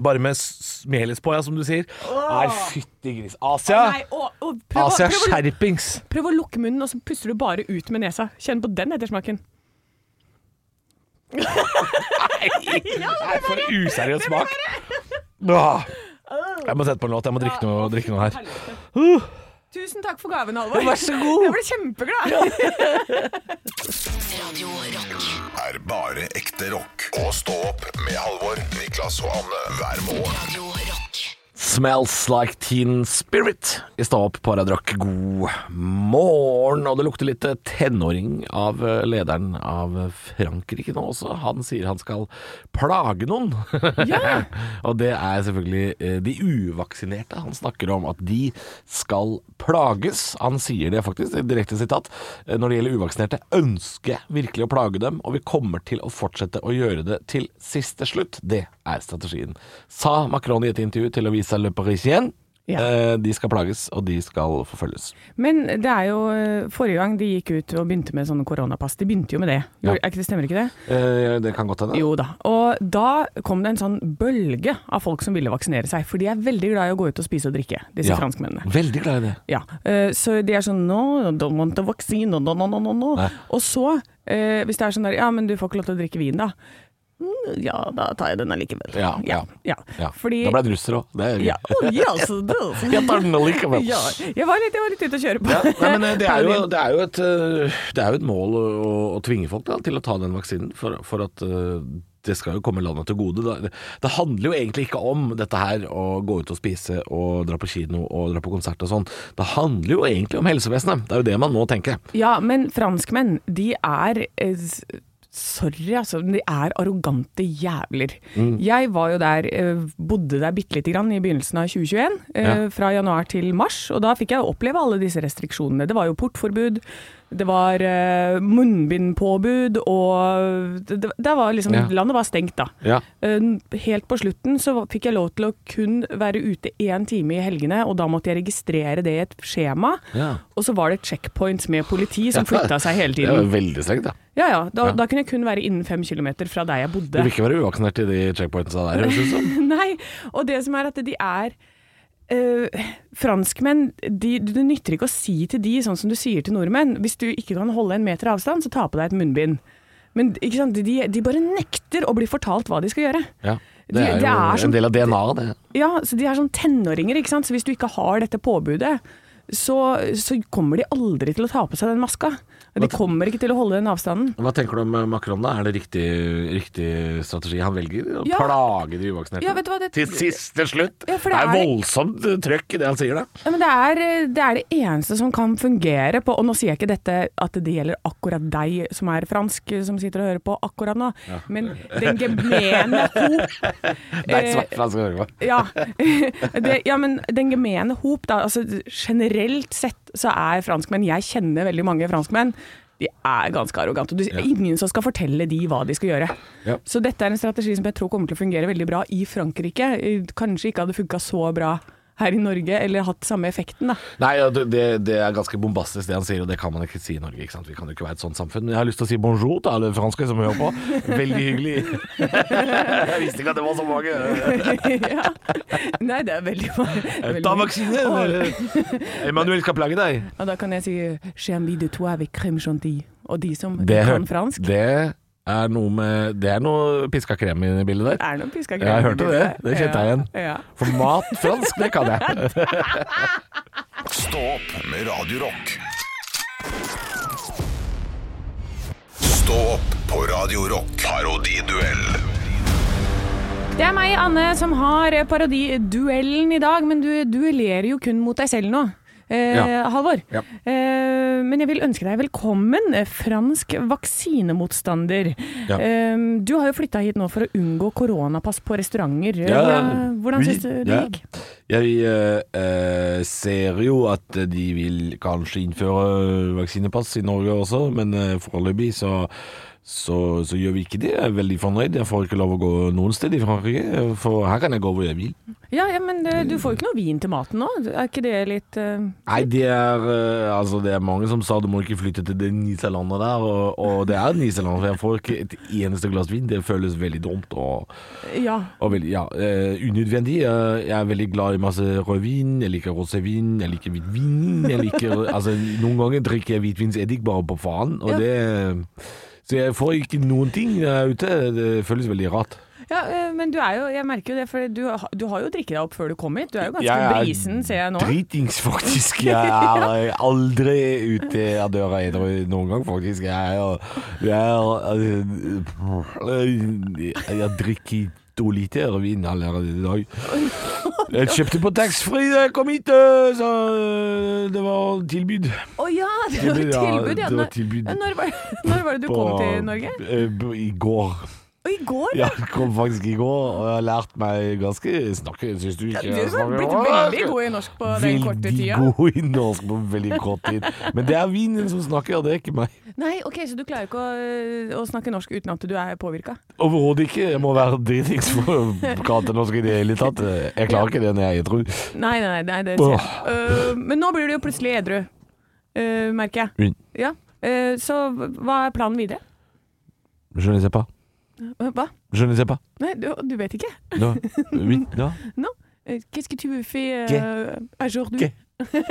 bare med s- melis på, ja, som du sier. Nei, fytti gris. Asia!
Nei, og, og prøv, å-
Asia
prøv, å-
skjerpings.
prøv å lukke munnen, og så puster du bare ut med nesa. Kjenn på den ettersmaken.
Nei, for useriøs smak. Åh! Jeg må sette på en låt. Jeg må drikke noe, drikke noe her.
Tusen takk for gaven, Halvor.
Vær så god.
Jeg ble kjempeglad.
Radio Rock.
er bare ekte rock. Og stå opp med Halvor, Niklas og Anne hver morgen.
Radio Rock.
Smells like teen spirit i stad opp på Radio Rock. God morgen. Og det lukter litt eh, tenåring av eh, lederen av Frankrike nå også. Han sier han skal plage noen.
Ja.
og det er selvfølgelig eh, de uvaksinerte. Han snakker om at de skal plages. Han sier det faktisk, det er et direkte sitat. Eh, Når det gjelder uvaksinerte, ønsker jeg virkelig å plage dem, og vi kommer til å fortsette å gjøre det til siste slutt. Det er strategien. Sa Macron i et intervju til avisa Le Parisien.
Ja.
Eh, De skal plages, og de skal forfølges.
Men det er jo eh, forrige gang de gikk ut og begynte med sånne koronapass. De begynte jo med det.
Ja.
Er ikke det stemmer ikke det?
Eh, Det kan godt hende.
Jo da. Og da kom det en sånn bølge av folk som ville vaksinere seg. For de er veldig glad i å gå ut og spise og drikke, disse
Ja.
franskmennene.
Veldig glad i det.
Ja, eh, så de er sånn No, don't want a vaccine, no, no, no, no, no.
Nei.
Og så, eh, hvis det er sånn der Ja, men du får ikke lov til å drikke vin, da. Mm, Ja, da tar jeg den allikevel.
Ja, ja.
ja.
Ja.
Fordi
Da ble det russere òg. Det er gøy.
ja, oh, yes, it does.
Jeg tar den allikevel.
ja, jeg var litt, jeg var litt ute å kjøre på.
Ja, nei, men eh, det er jo, det er jo, et, eh, det er jo et mål å, å- å tvinge folk da, til å ta den vaksinen, for, for at eh, det skal jo komme landet til gode. da. Det, det handler jo egentlig ikke om dette her, å gå ut og spise og dra på kino og dra på konsert og sånn. Det handler jo egentlig om helsevesenet. Det er jo det man må tenke.
Ja, men franskmenn, de er eh, s- Sorry, altså. men De er arrogante jævler.
Mm.
Jeg var jo der, eh, bodde der bitte lite grann i begynnelsen av 2021. eh,
Ja.
Fra januar til mars. Og da fikk jeg oppleve alle disse restriksjonene. Det var jo portforbud, det var eh, munnbindpåbud og det, det, det var liksom,
Ja.
Landet var stengt da.
Ja.
Eh, Helt på slutten så var- fikk jeg lov til å kun være ute én time i helgene, og da måtte jeg registrere det i et skjema.
Ja.
Og så var det checkpoints med politi som flytta seg hele
Det er jo
tiden.
veldig strengt, da.
Ja ja, da,
Ja.
da kunne jeg kun være innen fem kilometer fra der jeg
Du
bodde.
vil ikke være uvaksinert i de checkpointsa der, høres det altså. ut som.
Nei, og det som er at de er øh, franskmenn, de, det nytter ikke å si til de sånn som du sier til nordmenn. Hvis du ikke kan holde en meter avstand, så ta på deg et munnbind. Men ikke sant? De, de bare nekter å bli fortalt hva de skal gjøre.
Ja.
De-
Det er
det
jo
er som-
en del av DNA-et, det.
Ja, så de er sånn tenåringer, ikke sant? Så hvis du ikke har dette påbudet, så, så kommer de aldri til å ta på seg den maska. De kommer ikke til å holde den avstanden.
Hva tenker du om eh, Macron, da? Er det riktig, riktig strategi han velger? Å
Ja.
plage de uvaksinerte?
Ja, vet du hva, det-
Til siste slutt!
Ja, for
det
det
er
er-
voldsomt eh, trøkk i det han sier, da.
Ja, men det er, det er det eneste som kan fungere på Og nå sier jeg ikke dette at det gjelder akkurat deg som er fransk, som sitter og hører på akkurat nå, men den gemene hop
Nei,
Eh,
svart fransk å høre på.
Ja. Det, ja, men den gemene hop, da. Altså, generelt sett så er franskmenn Jeg kjenner veldig mange franskmenn. De er ganske arrogante. og Det er ingen som skal fortelle de hva de skal gjøre.
Ja.
Så dette er en strategi som jeg tror kommer til å fungere veldig bra i Frankrike. Kanskje ikke hadde funka så bra her i Norge, eller hatt samme effekten, da.
Nei, ja, det, det- det er ganske bombastisk det han sier, og det kan man ikke si i Norge. ikke sant? Vi kan jo ikke være et sånt samfunn. Men jeg har lyst til å si bonjour til alle franske som hører på. Veldig hyggelig. jeg visste ikke at det var så mange.
ja. Nei, det er veldig, veldig
Ta vaksine! eller- Emmanuel skal plage deg.
Og da kan jeg si 'J'ai envie de toi avec crème chantilly'. Og de som
Det,
kan
hør-
fransk,
det er noe med Det er noe piska krem i det bildet der.
er noen piska
Ja, jeg hørte det. Det kjente jeg igjen.
Ja.
For mat fransk, det kan jeg.
Stå opp med Radio Rock. Stå opp på Radio Rock. Parodiduell
Det er meg, Anne, som har parodiduellen i dag, men du duellerer jo kun mot deg selv nå. Eh,
Ja.
Halvor,
Ja.
eh, men jeg vil ønske deg velkommen, eh, fransk vaksinemotstander.
Ja.
Eh, du har jo flytta hit nå for å unngå koronapass på restauranter.
Ja,
hvordan hvordan
vi-
syns du det
ja.
gikk?
Jeg eh, eh, ser jo at de vil kanskje innføre vaksinepass i Norge også, men eh, foreløpig så, så, så gjør vi ikke det. Jeg er veldig fornøyd. Jeg får ikke lov å gå noen sted i Frankrike, for her kan jeg gå hvor jeg vil.
Ja, ja men eh, du får jo ikke noe vin til maten nå. Er ikke det litt eh,
Nei, det er, eh, altså, det er mange som sa du må ikke flytte til det niselandet der, og, og det er niselandet, for jeg får ikke et eneste glass vin. Det føles veldig dumt. og...
Ja.
Og veldig, ja, eh, unødvendig. Eh, jeg er veldig glad i masse rødvin. Jeg liker rosévin, jeg liker hvitvin. Jeg liker, altså, noen ganger drikker jeg hvitvinseddik bare på faen. Og
Ja.
det, så jeg får ikke noen ting når jeg er ute. Det føles veldig rart.
Ja, eh, men du er jo, jeg merker jo det, for du, ha- du har jo drikket deg opp før du kom hit. Du er jo ganske
Jeg er
brisen, ser jeg nå.
Dritings, faktisk. Jeg er aldri ute av døra edru noen gang, faktisk. Jeg er, jeg er Jeg har drukket to liter vin allerede i dag. Jeg kjøpte på taxfree da jeg kom hit, øh, så øh, det var tilbud.
Å ja, det var
Tilbud, ja, det
tilbud. Ja,
var
Når-
tilbud.
Ja, Når, var, når var det du kom
på-
til Norge?
eh, b- I går.
Og i går?
Ja, Jeg kom faktisk i går, og jeg har lært meg ganske snakke, syns du ikke?
Du
jeg
har
snakker-
blitt veldig god i norsk på den korte tida.
Veldig god i norsk på veldig kort tid. Men det er vinen som snakker, det er ikke meg.
Nei, ok, Så du klarer ikke å, øh, å snakke norsk uten at du er påvirka?
Overhodet ikke. Jeg må være dritings for å prate norsk i det hele tatt. Jeg klarer ikke det når jeg er edru.
Nei, nei, nei, nei, det ser jeg. Øh, men nå blir du jo plutselig edru, øh, merker jeg.
Men
Ja. øh, så hva er planen videre?
Je ne sais pas.
Hva?
Je ne sais pas.
Nei, du, du vet ikke?
No. Oui. No.
Non. Euh, Qu'est-ce que tu fais
Qu'est-
euh, aujourd'hui
Qu'est-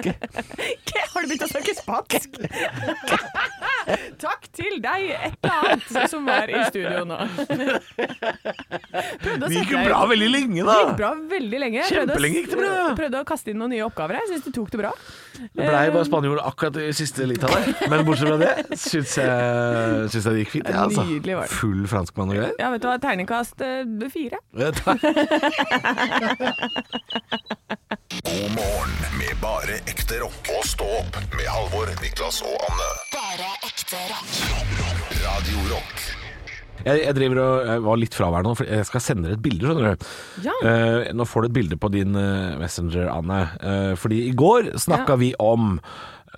Qu'est- Har du begynt å snakke spansk? Takk til deg, et eller annet, som er i studio nå. Prøvde å
Det gikk
sette
jo
deg-
bra veldig lenge,
Det gikk
da.
bra veldig lenge. Jeg prøvde å-
Kjempelenge gikk det bra.
Prøvde å kaste inn noen nye oppgaver her. Syns du tok det bra.
Det blei bare spanjol akkurat i siste lita der. Men bortsett fra det syns jeg, syns jeg det gikk fint. Ja, altså.
Nydelig var det.
Full franskmann og greier.
Ja, vet du hva, terningkast eh, fire.
Ja, takk.
God morgen med bare ekte rock. Og stå opp med Halvor, Niklas og Anne.
Bare ekte rock.
Radio Rock.
Jeg, jeg driver og jeg var litt fraværende, nå, for jeg skal sende deg et bilde, skjønner du.
Ja.
Eh, nå får du et bilde på din eh, Messenger, Anne. Eh, fordi i går snakka
Ja.
vi om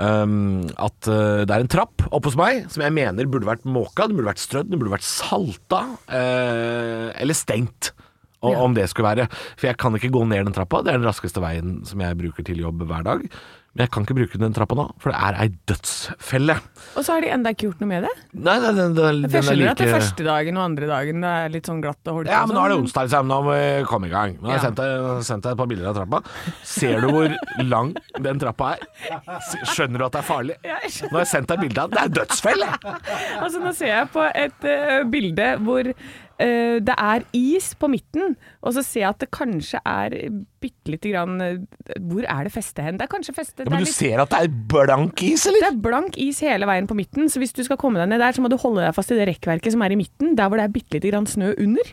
ehm, at eh, det er en trapp oppe hos meg som jeg mener burde vært måka, den burde vært strødd, den burde vært salta eh, eller stengt. Og, Om det skulle være. For jeg kan ikke gå ned den trappa. Det er den raskeste veien som jeg bruker til jobb hver dag. Men jeg kan ikke bruke den trappa nå, for det er ei dødsfelle.
Og så har de enda ikke gjort noe med det.
Nei, nei, den, den,
For jeg
den er
skjønner at det
like-
første dagen og andre dagen det er litt sånn glatt og holdt.
Ja,
og
men nå er det
sånn.
onsdag, liksom. Nå må vi komme i gang. Nå har jeg
Ja.
sendt deg, sendt deg et par bilder av trappa. Ser du hvor lang den trappa er? S- Skjønner du at det er farlig?
Ja, jeg
Nå har jeg sendt deg bilde av Det er dødsfelle!
Altså, nå ser jeg på et eh, bilde hvor eh, det er is på midten, og så ser jeg at det kanskje er bitte lite grann eh, Hvor er det festet hen? Det er kanskje festet
Ja,
det,
men
er
du
litt-
ser at det er blank is,
det
eller?
er blank is hele veien på midten, så hvis du skal komme deg ned der, så må du holde deg fast i det rekkverket som er i midten, der hvor det er bitte lite grann snø under.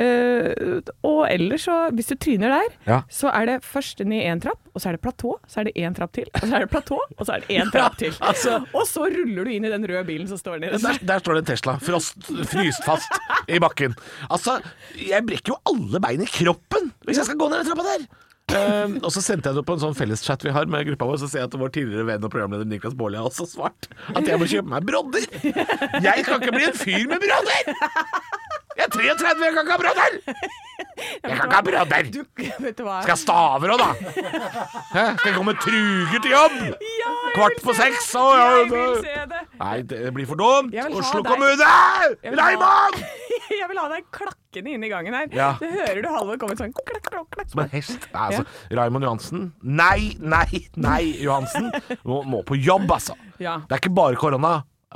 Eh, og ellers så, hvis du tryner der,
Ja.
så er det først ned én trapp, og så er det platå, så er det én trapp til, og så er det platå, og så er det én trapp til.
Altså-
og så ruller du inn i den røde bilen som står nede der.
Der, der står det en Tesla, frost, fryst fast i bakken. Altså, jeg brekker jo alle bein i kroppen hvis jeg skal gå ned den trappa der! Ehm, og så sendte jeg det på en sånn felleschat vi har med gruppa vår, så ser jeg at vår tidligere venn og programleder Niklas Baarli har også svart at jeg må kjøpe meg brodder! Jeg kan ikke bli en fyr med brodder! Jeg er 33, jeg kan ikke ha brodder! Jeg kan ikke ha brodder!
Du, vet du hva?
Skal jeg stave òg, da? Hæ? Skal jeg gå med truger til jobb?
Ja, jeg
Kvart
vil
på
se det!
seks, å, ja,
Jeg vil se det!
Nei, det blir for dumt!
Jeg vil ha
Oslo
deg.
kommune!
Jeg vil ha-
Reimann!
Jeg vil ha deg klakkende inn i gangen her.
Ja.
Så hører du Halvor komme sånn klakk, klakk, klakk.
Som en hest. Nei, altså, Raymond Johansen Nei, nei, nei, Johansen! Må, må på jobb, altså.
Ja.
Det er ikke bare korona.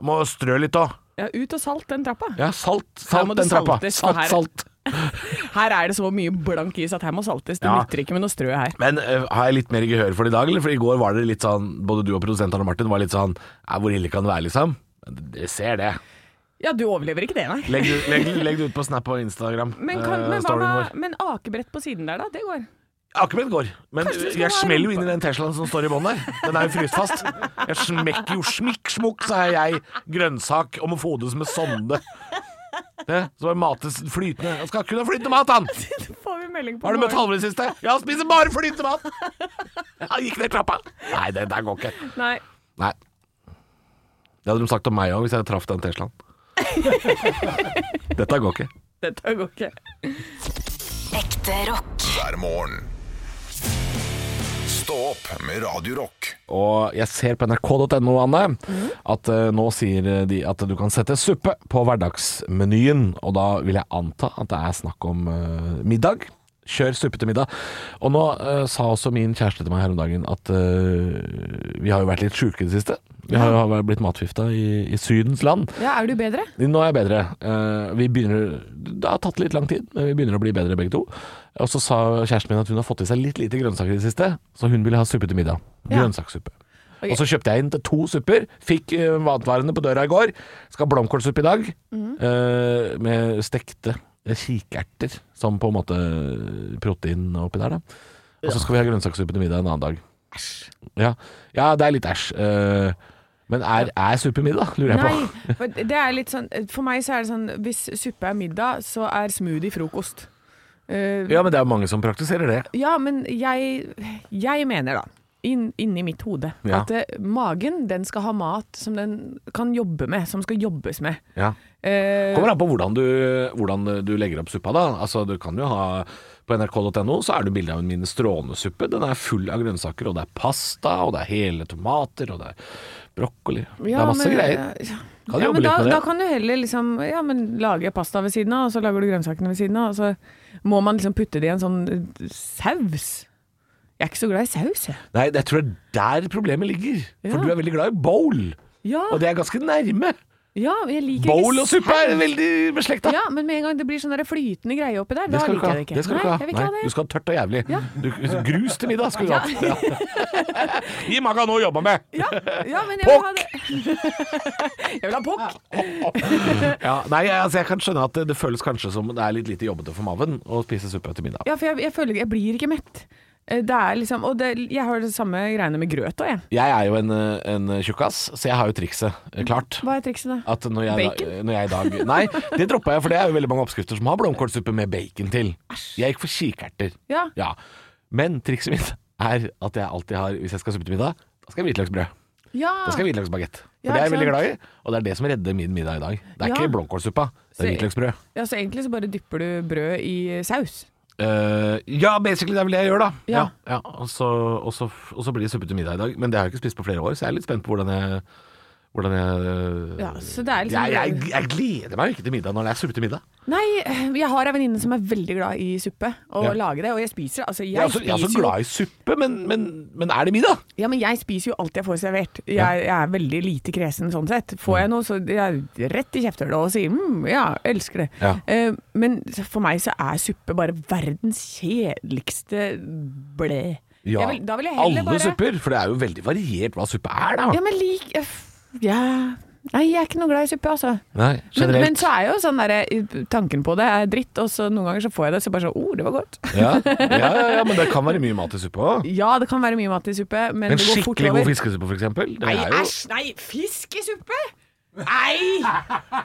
Må strø litt òg.
ja, ut og salt den trappa.
Ja, salt,
Her må
salt
det
den trappa.
saltes, for
Salt,
her-
salt.
Her er det så mye blank is at her må saltes. Det
Ja.
nytter ikke med noe strø her.
Men eh, har jeg litt mer gehør for det i dag, eller? For i går var det litt sånn Både du og produsenten og Martin var litt sånn «Nei, Hvor ille kan det være, liksom? Dere ser det.
Ja, du overlever ikke det, nei.
Legg, det- legg, legg det ut på Snap og Instagram.
Men, kan,
eh,
men, hva
storyen vår.
med, men akebrett på siden der, da? Det går.
Akkurat går. Men
Kanskje du skal
jeg
ha
smeller jo
rumpa-
inn i den Teslaen som står i bånn der. Den er jo fryst fast. Jeg smekker jo smikk smukk, så er jeg grønnsak og må fodes med sonde. Det, så bare mates flytende Han skal kun ha flytende mat, han!
Så får vi melding på
Har du møtt
morgenen.
Halvor i det siste? Ja, han spiser bare flytende mat! Han gikk ned trappa. Nei, det der går ikke.
Nei.
Nei. Det hadde de sagt om meg òg, hvis jeg traff den Teslaen. Dette går ikke.
Dette går ikke.
Ekte rock.
Hver morgen. Stå opp med Radio Rock.
Og jeg ser på nrk.no, Anne, at eh, nå sier de at du kan sette suppe på hverdagsmenyen. Og da vil jeg anta at det er snakk om eh, middag. Kjør suppete middag. Og nå eh, sa også min kjæreste til meg her om dagen at eh, vi har jo vært litt sjuke i det siste. Vi har jo blitt matforgifta i, i Sydens land.
Ja, er du bedre?
Nå er jeg bedre. Eh, Vi begynner, det har tatt litt lang tid, men vi begynner å bli bedre begge to. Og så sa kjæresten min at hun har fått i seg litt lite grønnsaker i det siste, så hun ville ha suppe til middag.
Ja.
Grønnsakssuppe. Og så kjøpte jeg inn til to supper. Fikk eh, matvarene på døra i går. Skal ha blomkålsuppe i dag,
Mhm.
eh, med stekte eh, kikerter som på en måte eh, protein oppi der, da. Og så skal vi ha grønnsakssuppe til middag en annen dag. Ja, ja det er litt æsj. eh, Men er, er suppe middag, lurer jeg på.
Nei, for det er litt sånn For meg så er det sånn Hvis suppe er middag, så er smoothie frokost. Eh,
Ja, men det er mange som praktiserer det.
ja, men jeg, jeg mener da, inn, inni mitt hode,
Ja.
at eh, magen den skal ha mat som den kan jobbe med, som skal jobbes med.
Ja.
Eh,
Kommer an på hvordan du, hvordan du legger opp suppa, da. Altså, du kan jo ha På nrk.no så er det bilde av min strånesuppe. Den er full av grønnsaker, og det er pasta, og det er hele tomater, og det er brokkoli. det
ja,
er masse
men- eh,
greier.
ja.
Kan
ja,
jobbe
men
litt
da,
med det.
da kan du heller liksom ja, men lage pasta ved siden av, og så lager du grønnsakene ved siden av, og så må man liksom putte det i en sånn eh, saus. Jeg er ikke så glad i saus, jeg.
Nei, jeg tror det er der problemet ligger.
Ja.
For du er veldig glad i bowl,
Ja,
og det er ganske nærme.
ja jeg liker
Bowl
ikke
og suppe er veldig beslekta.
Ja, men med en gang det blir sånn der flytende greie oppi der,
Det
da
skal du
liker
ikke ha.
jeg det ikke.
Det skal du ikke
Nei,
ha.
jeg vil
Nei,
ikke ha det.
du skal ha tørt og jævlig. Du, grus til middag skulle du hatt. Ja. Gi maga noe å jobbe med!
Ja, ja, men jeg vil ha det. jeg vil ha pokk.
Ja, nei, altså jeg kan skjønne at det, det føles kanskje som det er litt lite jobbete for maven å spise suppe til middag.
Ja, for jeg, jeg føler jeg blir ikke mett. Eh, Det er liksom, og det, jeg har det samme greiene med grøt òg, jeg.
Jeg er jo en, eh, en tjukkas, så jeg har jo trikset eh, klart.
Hva er trikset da?
At når jeg,
Bacon?
Da, når jeg i dag Nei, det droppa jeg, for det er jo veldig mange oppskrifter som har blomkålsuppe med bacon til. Jeg gikk for kikerter.
Ja.
Ja. Men trikset mitt er at jeg alltid har, hvis jeg skal ha suppe til middag, da skal jeg ha hvitløksbrød.
Ja.
Da skal jeg ha hvitløksbagett. For
Ja,
det er jeg
ikke
veldig
sant?
glad i, og det er det som redder min middag i dag. Det er
Ja.
ikke blomkålsuppa, det er
Så-
hvitløksbrød.
ja, så egentlig så bare dypper du brød i saus.
Eh, ja, basically det er vel det jeg gjør, da.
Ja.
ja, og, så, og, så, og så blir det suppe til middag i dag. Men det har jeg ikke spist på flere år, så jeg er litt spent på hvordan jeg hvordan jeg, eh,
Ja, så det er liksom
jeg, jeg, jeg gleder meg jo ikke til middag når det er suppe til middag.
Nei, jeg har ei venninne som er veldig glad i suppe, og
Ja.
lager det, og jeg spiser det. Altså, jeg,
Jeg er også, jeg er
spiser
også glad i suppe, men, men, men er det middag?
jo, ja, men jeg spiser jo alt jeg får servert. Jeg, jeg er veldig lite kresen sånn sett. Får
Mm.
jeg noe, så jeg er rett i kjefthullet og sier mm, ja, elsker det.
Ja.
Eh, men for meg så er suppe bare verdens kjedeligste blæ. Jeg vil, da vil jeg heller
alle
bare
supper, for det er jo veldig variert hva suppe er, da.
Ja, men lik ja. Nei, jeg er ikke noe glad i suppe, altså.
Nei,
Men,
generelt.
men så er jo sånn derre Tanken på det er dritt, og så noen ganger så får jeg det, så bare sånn Å, oh, det var godt.
ja, ja, ja, ja, men det kan være mye mat i suppe òg.
Ja, det kan være mye mat i suppe, men
En
det går fort
skikkelig
over.
god fiskesuppe, for eksempel. Den
Nei,
er jo-
æsj! Nei, fisk i suppe! Nei!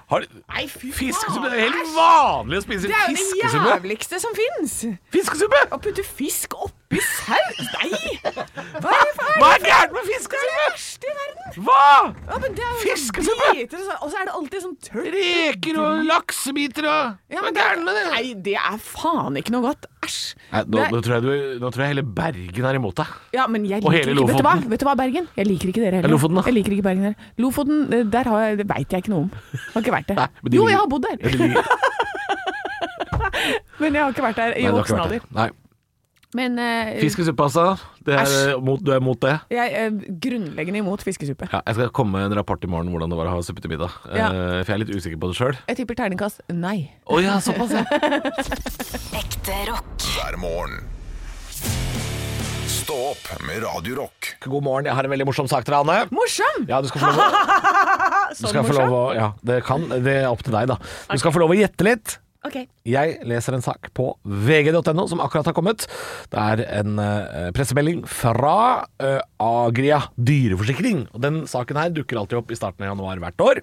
Har,
Nei, fy
fiskesuppe,
faen!
det er helt vanlig å spise
Det er jo det
fiskesuppe!
jævligste som fins!
Fiskesuppe!
Å putte fisk oppi saus Nei! Hva er det for
Hva er gærent med altså?
Det er det
fiskesuppe?
verste i verden!
Hva?
Ja, men det er jo
Fiskesuppe!
biter, og så- Og så er det alltid sånn tørr
Reker og laksebiter og
Ja,
Hva er
men
gærent med det?
Nei, det er faen ikke noe godt. Æsj.
Nei, nå,
Det-
nå, tror jeg du, nå tror jeg hele Bergen er imot deg.
Ja, men jeg
Og
liker
hele
ikke vet du, hva?
Lofoten.
vet du hva, Bergen? Jeg liker ikke dere heller.
Ja, Lofoten, da.
Jeg liker ikke Bergen heller. Lofoten, eh, der har jeg, det veit jeg ikke noe om. Har ikke vært det.
Nei, men de
jo,
ligger-
jeg har bodd der,
Eller de- Nei,
men jeg har ikke vært der i
det har ikke
voksen
vært det.
alder.
Nei.
Men eh,
Fiskesuppe, altså. Det er,
Æsj.
mot, du er mot det?
jeg er grunnleggende imot fiskesuppe.
Ja, jeg skal komme med en rapport i morgen om hvordan det var å ha suppe til middag.
Ja.
Eh, for jeg er litt usikker på det sjøl.
Jeg tipper terningkast nei.
Å ja, såpass, ja.
Ekte rock.
hver morgen. Stå opp med Radio Rock.
God morgen, jeg har en veldig morsom sak til deg, Anne.
Morsom!
Ja, du skal få lov å, du
Sånn
skal få lov å ja, det, kan, det er opp til deg, da. Du skal få lov å gjette litt.
Ok.
Jeg leser en sak på vg.no som akkurat har kommet. Det er en eh, pressemelding fra eh, Agria dyreforsikring. Og Den saken her dukker alltid opp i starten av januar hvert år.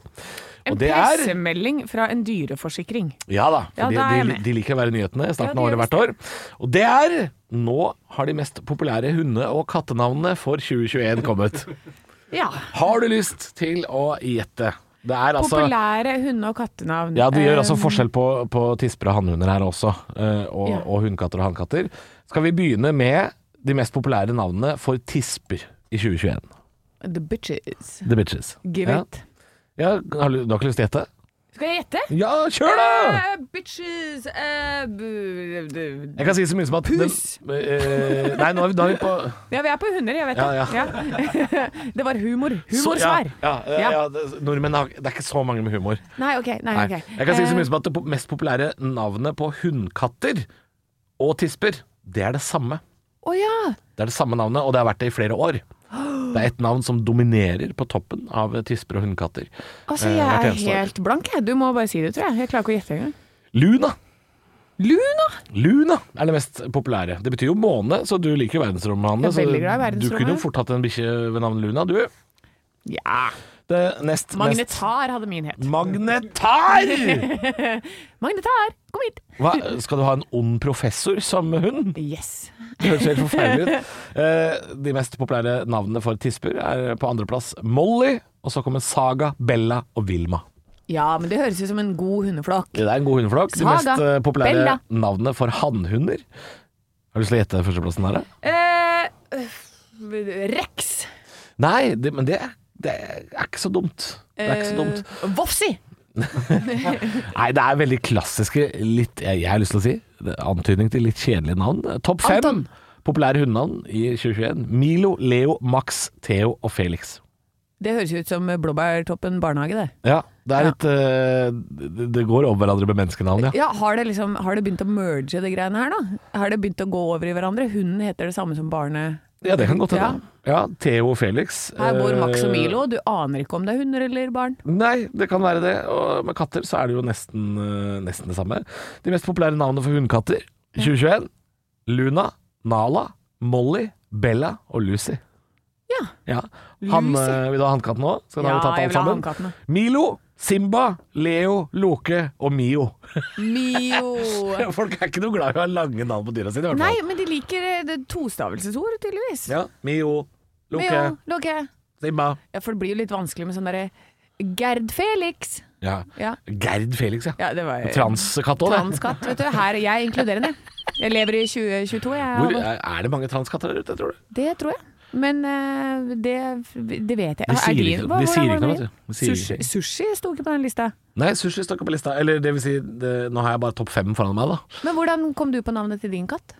En
Og det er
pressemelding fra en dyreforsikring.
Ja da,
Ja,
for de,
da er jeg
de,
med.
de liker å være i nyhetene i starten av
Ja, de
året hvert år. Og det er Nå har de mest populære hunde- og kattenavnene for 2021 kommet.
Ja.
Har du lyst til å gjette? Det er altså
Populære hunde- og kattenavn.
Ja, de gjør altså
Eh,
forskjell på, på tisper og hannhunder her også, eh, og,
Ja.
og hundkatter og hannkatter. Skal vi begynne med de mest populære navnene for tisper i 2021?
eh, The bitches.
The Bitches.
Give
ja.
it.
Ja, har du, du har ikke lyst til å gjette?
Skal jeg gjette?
Ja, kjør da!
Eh, bitches eh, bu- du- du-
Jeg kan si så mye som at den-
Pus!
eh, nei, nå er vi, da er vi på
Ja, vi er på hunder, jeg vet
Ja, ja.
det. Ja. det var humor.
Så- ja,
Humorsvær.
ja, ja, ja, det- Nordmenn har Det er ikke så mange med humor.
Nei, OK. Nei,
Nei.
ok.
Jeg kan si så
Eh,
mye som at det po- mest populære navnet på hundkatter og tisper, det er det samme.
Å ja!
Det er det samme navnet, og det har vært det i flere år. Det er et navn som dominerer på toppen av tisper og hundkatter.
Altså,
Eh,
jeg
hvert
er
eneste år.
helt blank, jeg. Du må bare si det, tror jeg. Jeg klarer ikke å gjette engang.
Luna!
Luna!
Luna er det mest populære. Det betyr jo måne, så du liker jo verdensrommet, Hanne.
Jeg er
så
veldig glad i
Du
verdensrommet.
kunne jo fort hatt en bikkje ved navn Luna, du.
Ja.
Det nest mest
Magnetar hadde min het.
Magnetar!
Magnetar, kom hit!
Hva? Skal du ha en ond professor som hund?
Yes.
Det høres helt forferdelig ut. Eh, De mest populære navnene for tisper er på andreplass Molly, og så kommer Saga, Bella og Vilma.
Ja, men det høres ut som en god hundeflokk.
Det er en god hundeflokk. De
Saga,
mest eh, populære
Bella.
navnene for hannhunder. Har du lyst til å gjette førsteplassen her? da?
Eh, Rex.
Nei, det, men det, det er ikke så dumt. Det er ikke så dumt.
Eh, Vofsi!
Nei, det er veldig klassiske, litt, jeg, jeg har lyst til å si, det er antydning til litt kjedelige navn. Topp fem
Anton.
populære hundenavn i 2021. Milo, Leo, Max, Theo og Felix.
Det høres ut som Blåbærtoppen barnehage, det.
Ja, det er
Ja.
litt eh, det- Det går over hverandre med menneskenavn, ja.
Ja, har det, liksom, har det begynt å merge det greiene her, da? Har det begynt å gå over i hverandre? Hunden heter det samme som barnet.
Ja, det kan godt hende. Ja, Theo og Felix.
Her bor Max og
eh,
Milo, du aner ikke om det er hunder eller barn.
Nei, det kan være det. Og med katter så er det jo nesten, eh, nesten det samme. De mest populære navnene for hundekatter i 2021 Luna, Nala, Molly, Bella og Lucy.
Ja.
Ja. Han,
Lucy.
eh, vil du ha hannkatten òg? Skal da
Ja,
ha tatt alle
jeg vil ha
sammen?
hannkattene.
Milo, Simba, Leo, Loke og Mio.
Mio!
Folk er ikke noe glad i å ha lange navn på dyra sine, i hvert
Nei,
fall.
men de liker eh, det tostavelsesord, tydeligvis.
Ja. Mio, Loke,
Mio, Loke.
Simba.
Ja, for det blir jo litt vanskelig med sånn derre Gerd Felix.
Ja.
Ja.
Gerd Felix, ja.
ja, det var
Transkatt òg, det.
Transkatt, vet du. Her er jeg inkluderende. Jeg lever i 2022, jeg.
Hvor,
Halvor.
er det mange transkatter der ute, tror du?
Det tror jeg. Men eh, det, det vet jeg.
De
Er
sier
din-
ikke noe-
hva-
de
hvordan
sier
var
ikke noe,
det?
vet du. De sier
sushi,
ikke.
sushi sto ikke på den lista.
Nei, sushi står ikke på lista. Eller det vil si, det, nå har jeg bare topp fem foran meg, da.
Men hvordan kom du på navnet til din katt?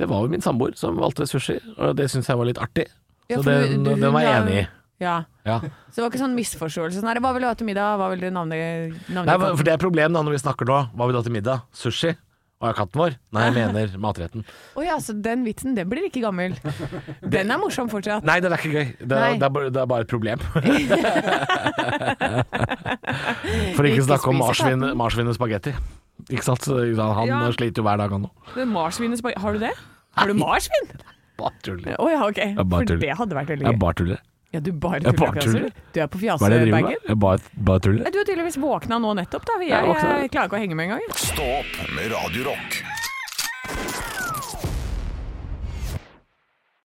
Det var jo min samboer som valgte sushi, og det syns jeg var litt artig.
Ja,
så
for
den,
du- du-
den var jeg
hun
enig i.
har- Ja.
Ja.
Så det var ikke sånn misforståelse. Sånn, her, hva vil du ha til middag? Hva vil du navne, navne
Nei, for det er problemet da når vi snakker nå. Hva vil du ha til middag? Sushi? Og er katten vår? Nei, jeg mener matretten.
Å ja, så den vitsen, den blir ikke gammel. Den er morsom fortsatt.
Nei, den er ikke gøy. Det, er,
Nei.
det, er, bare, det er bare et problem. For ikke
Ikke
å snakke om
spise
marsvin-
katten.
marsvin og spagetti. Ikke sant? Så, ikke sant? Han
Ja.
sliter jo hver dag, han òg.
Den marsvinet spag- Har du det? Har du marsvin?
Bare tuller.
Å ja, ok.
er bare
For
tull.
det hadde vært veldig
Jeg
gøy.
bare tuller.
Ja, du bare
Jeg bare
tuller. fjaser.
tuller.
Du er på
Hva er det jeg driver
fjasebagen.
med? Jeg bare, bare tuller.
Nei, Du har tydeligvis våkna nå nettopp, da. Jeg,
Jeg våkna.
jeg klarer ikke å henge med engang. jeg.
Stå opp med Radio Rock.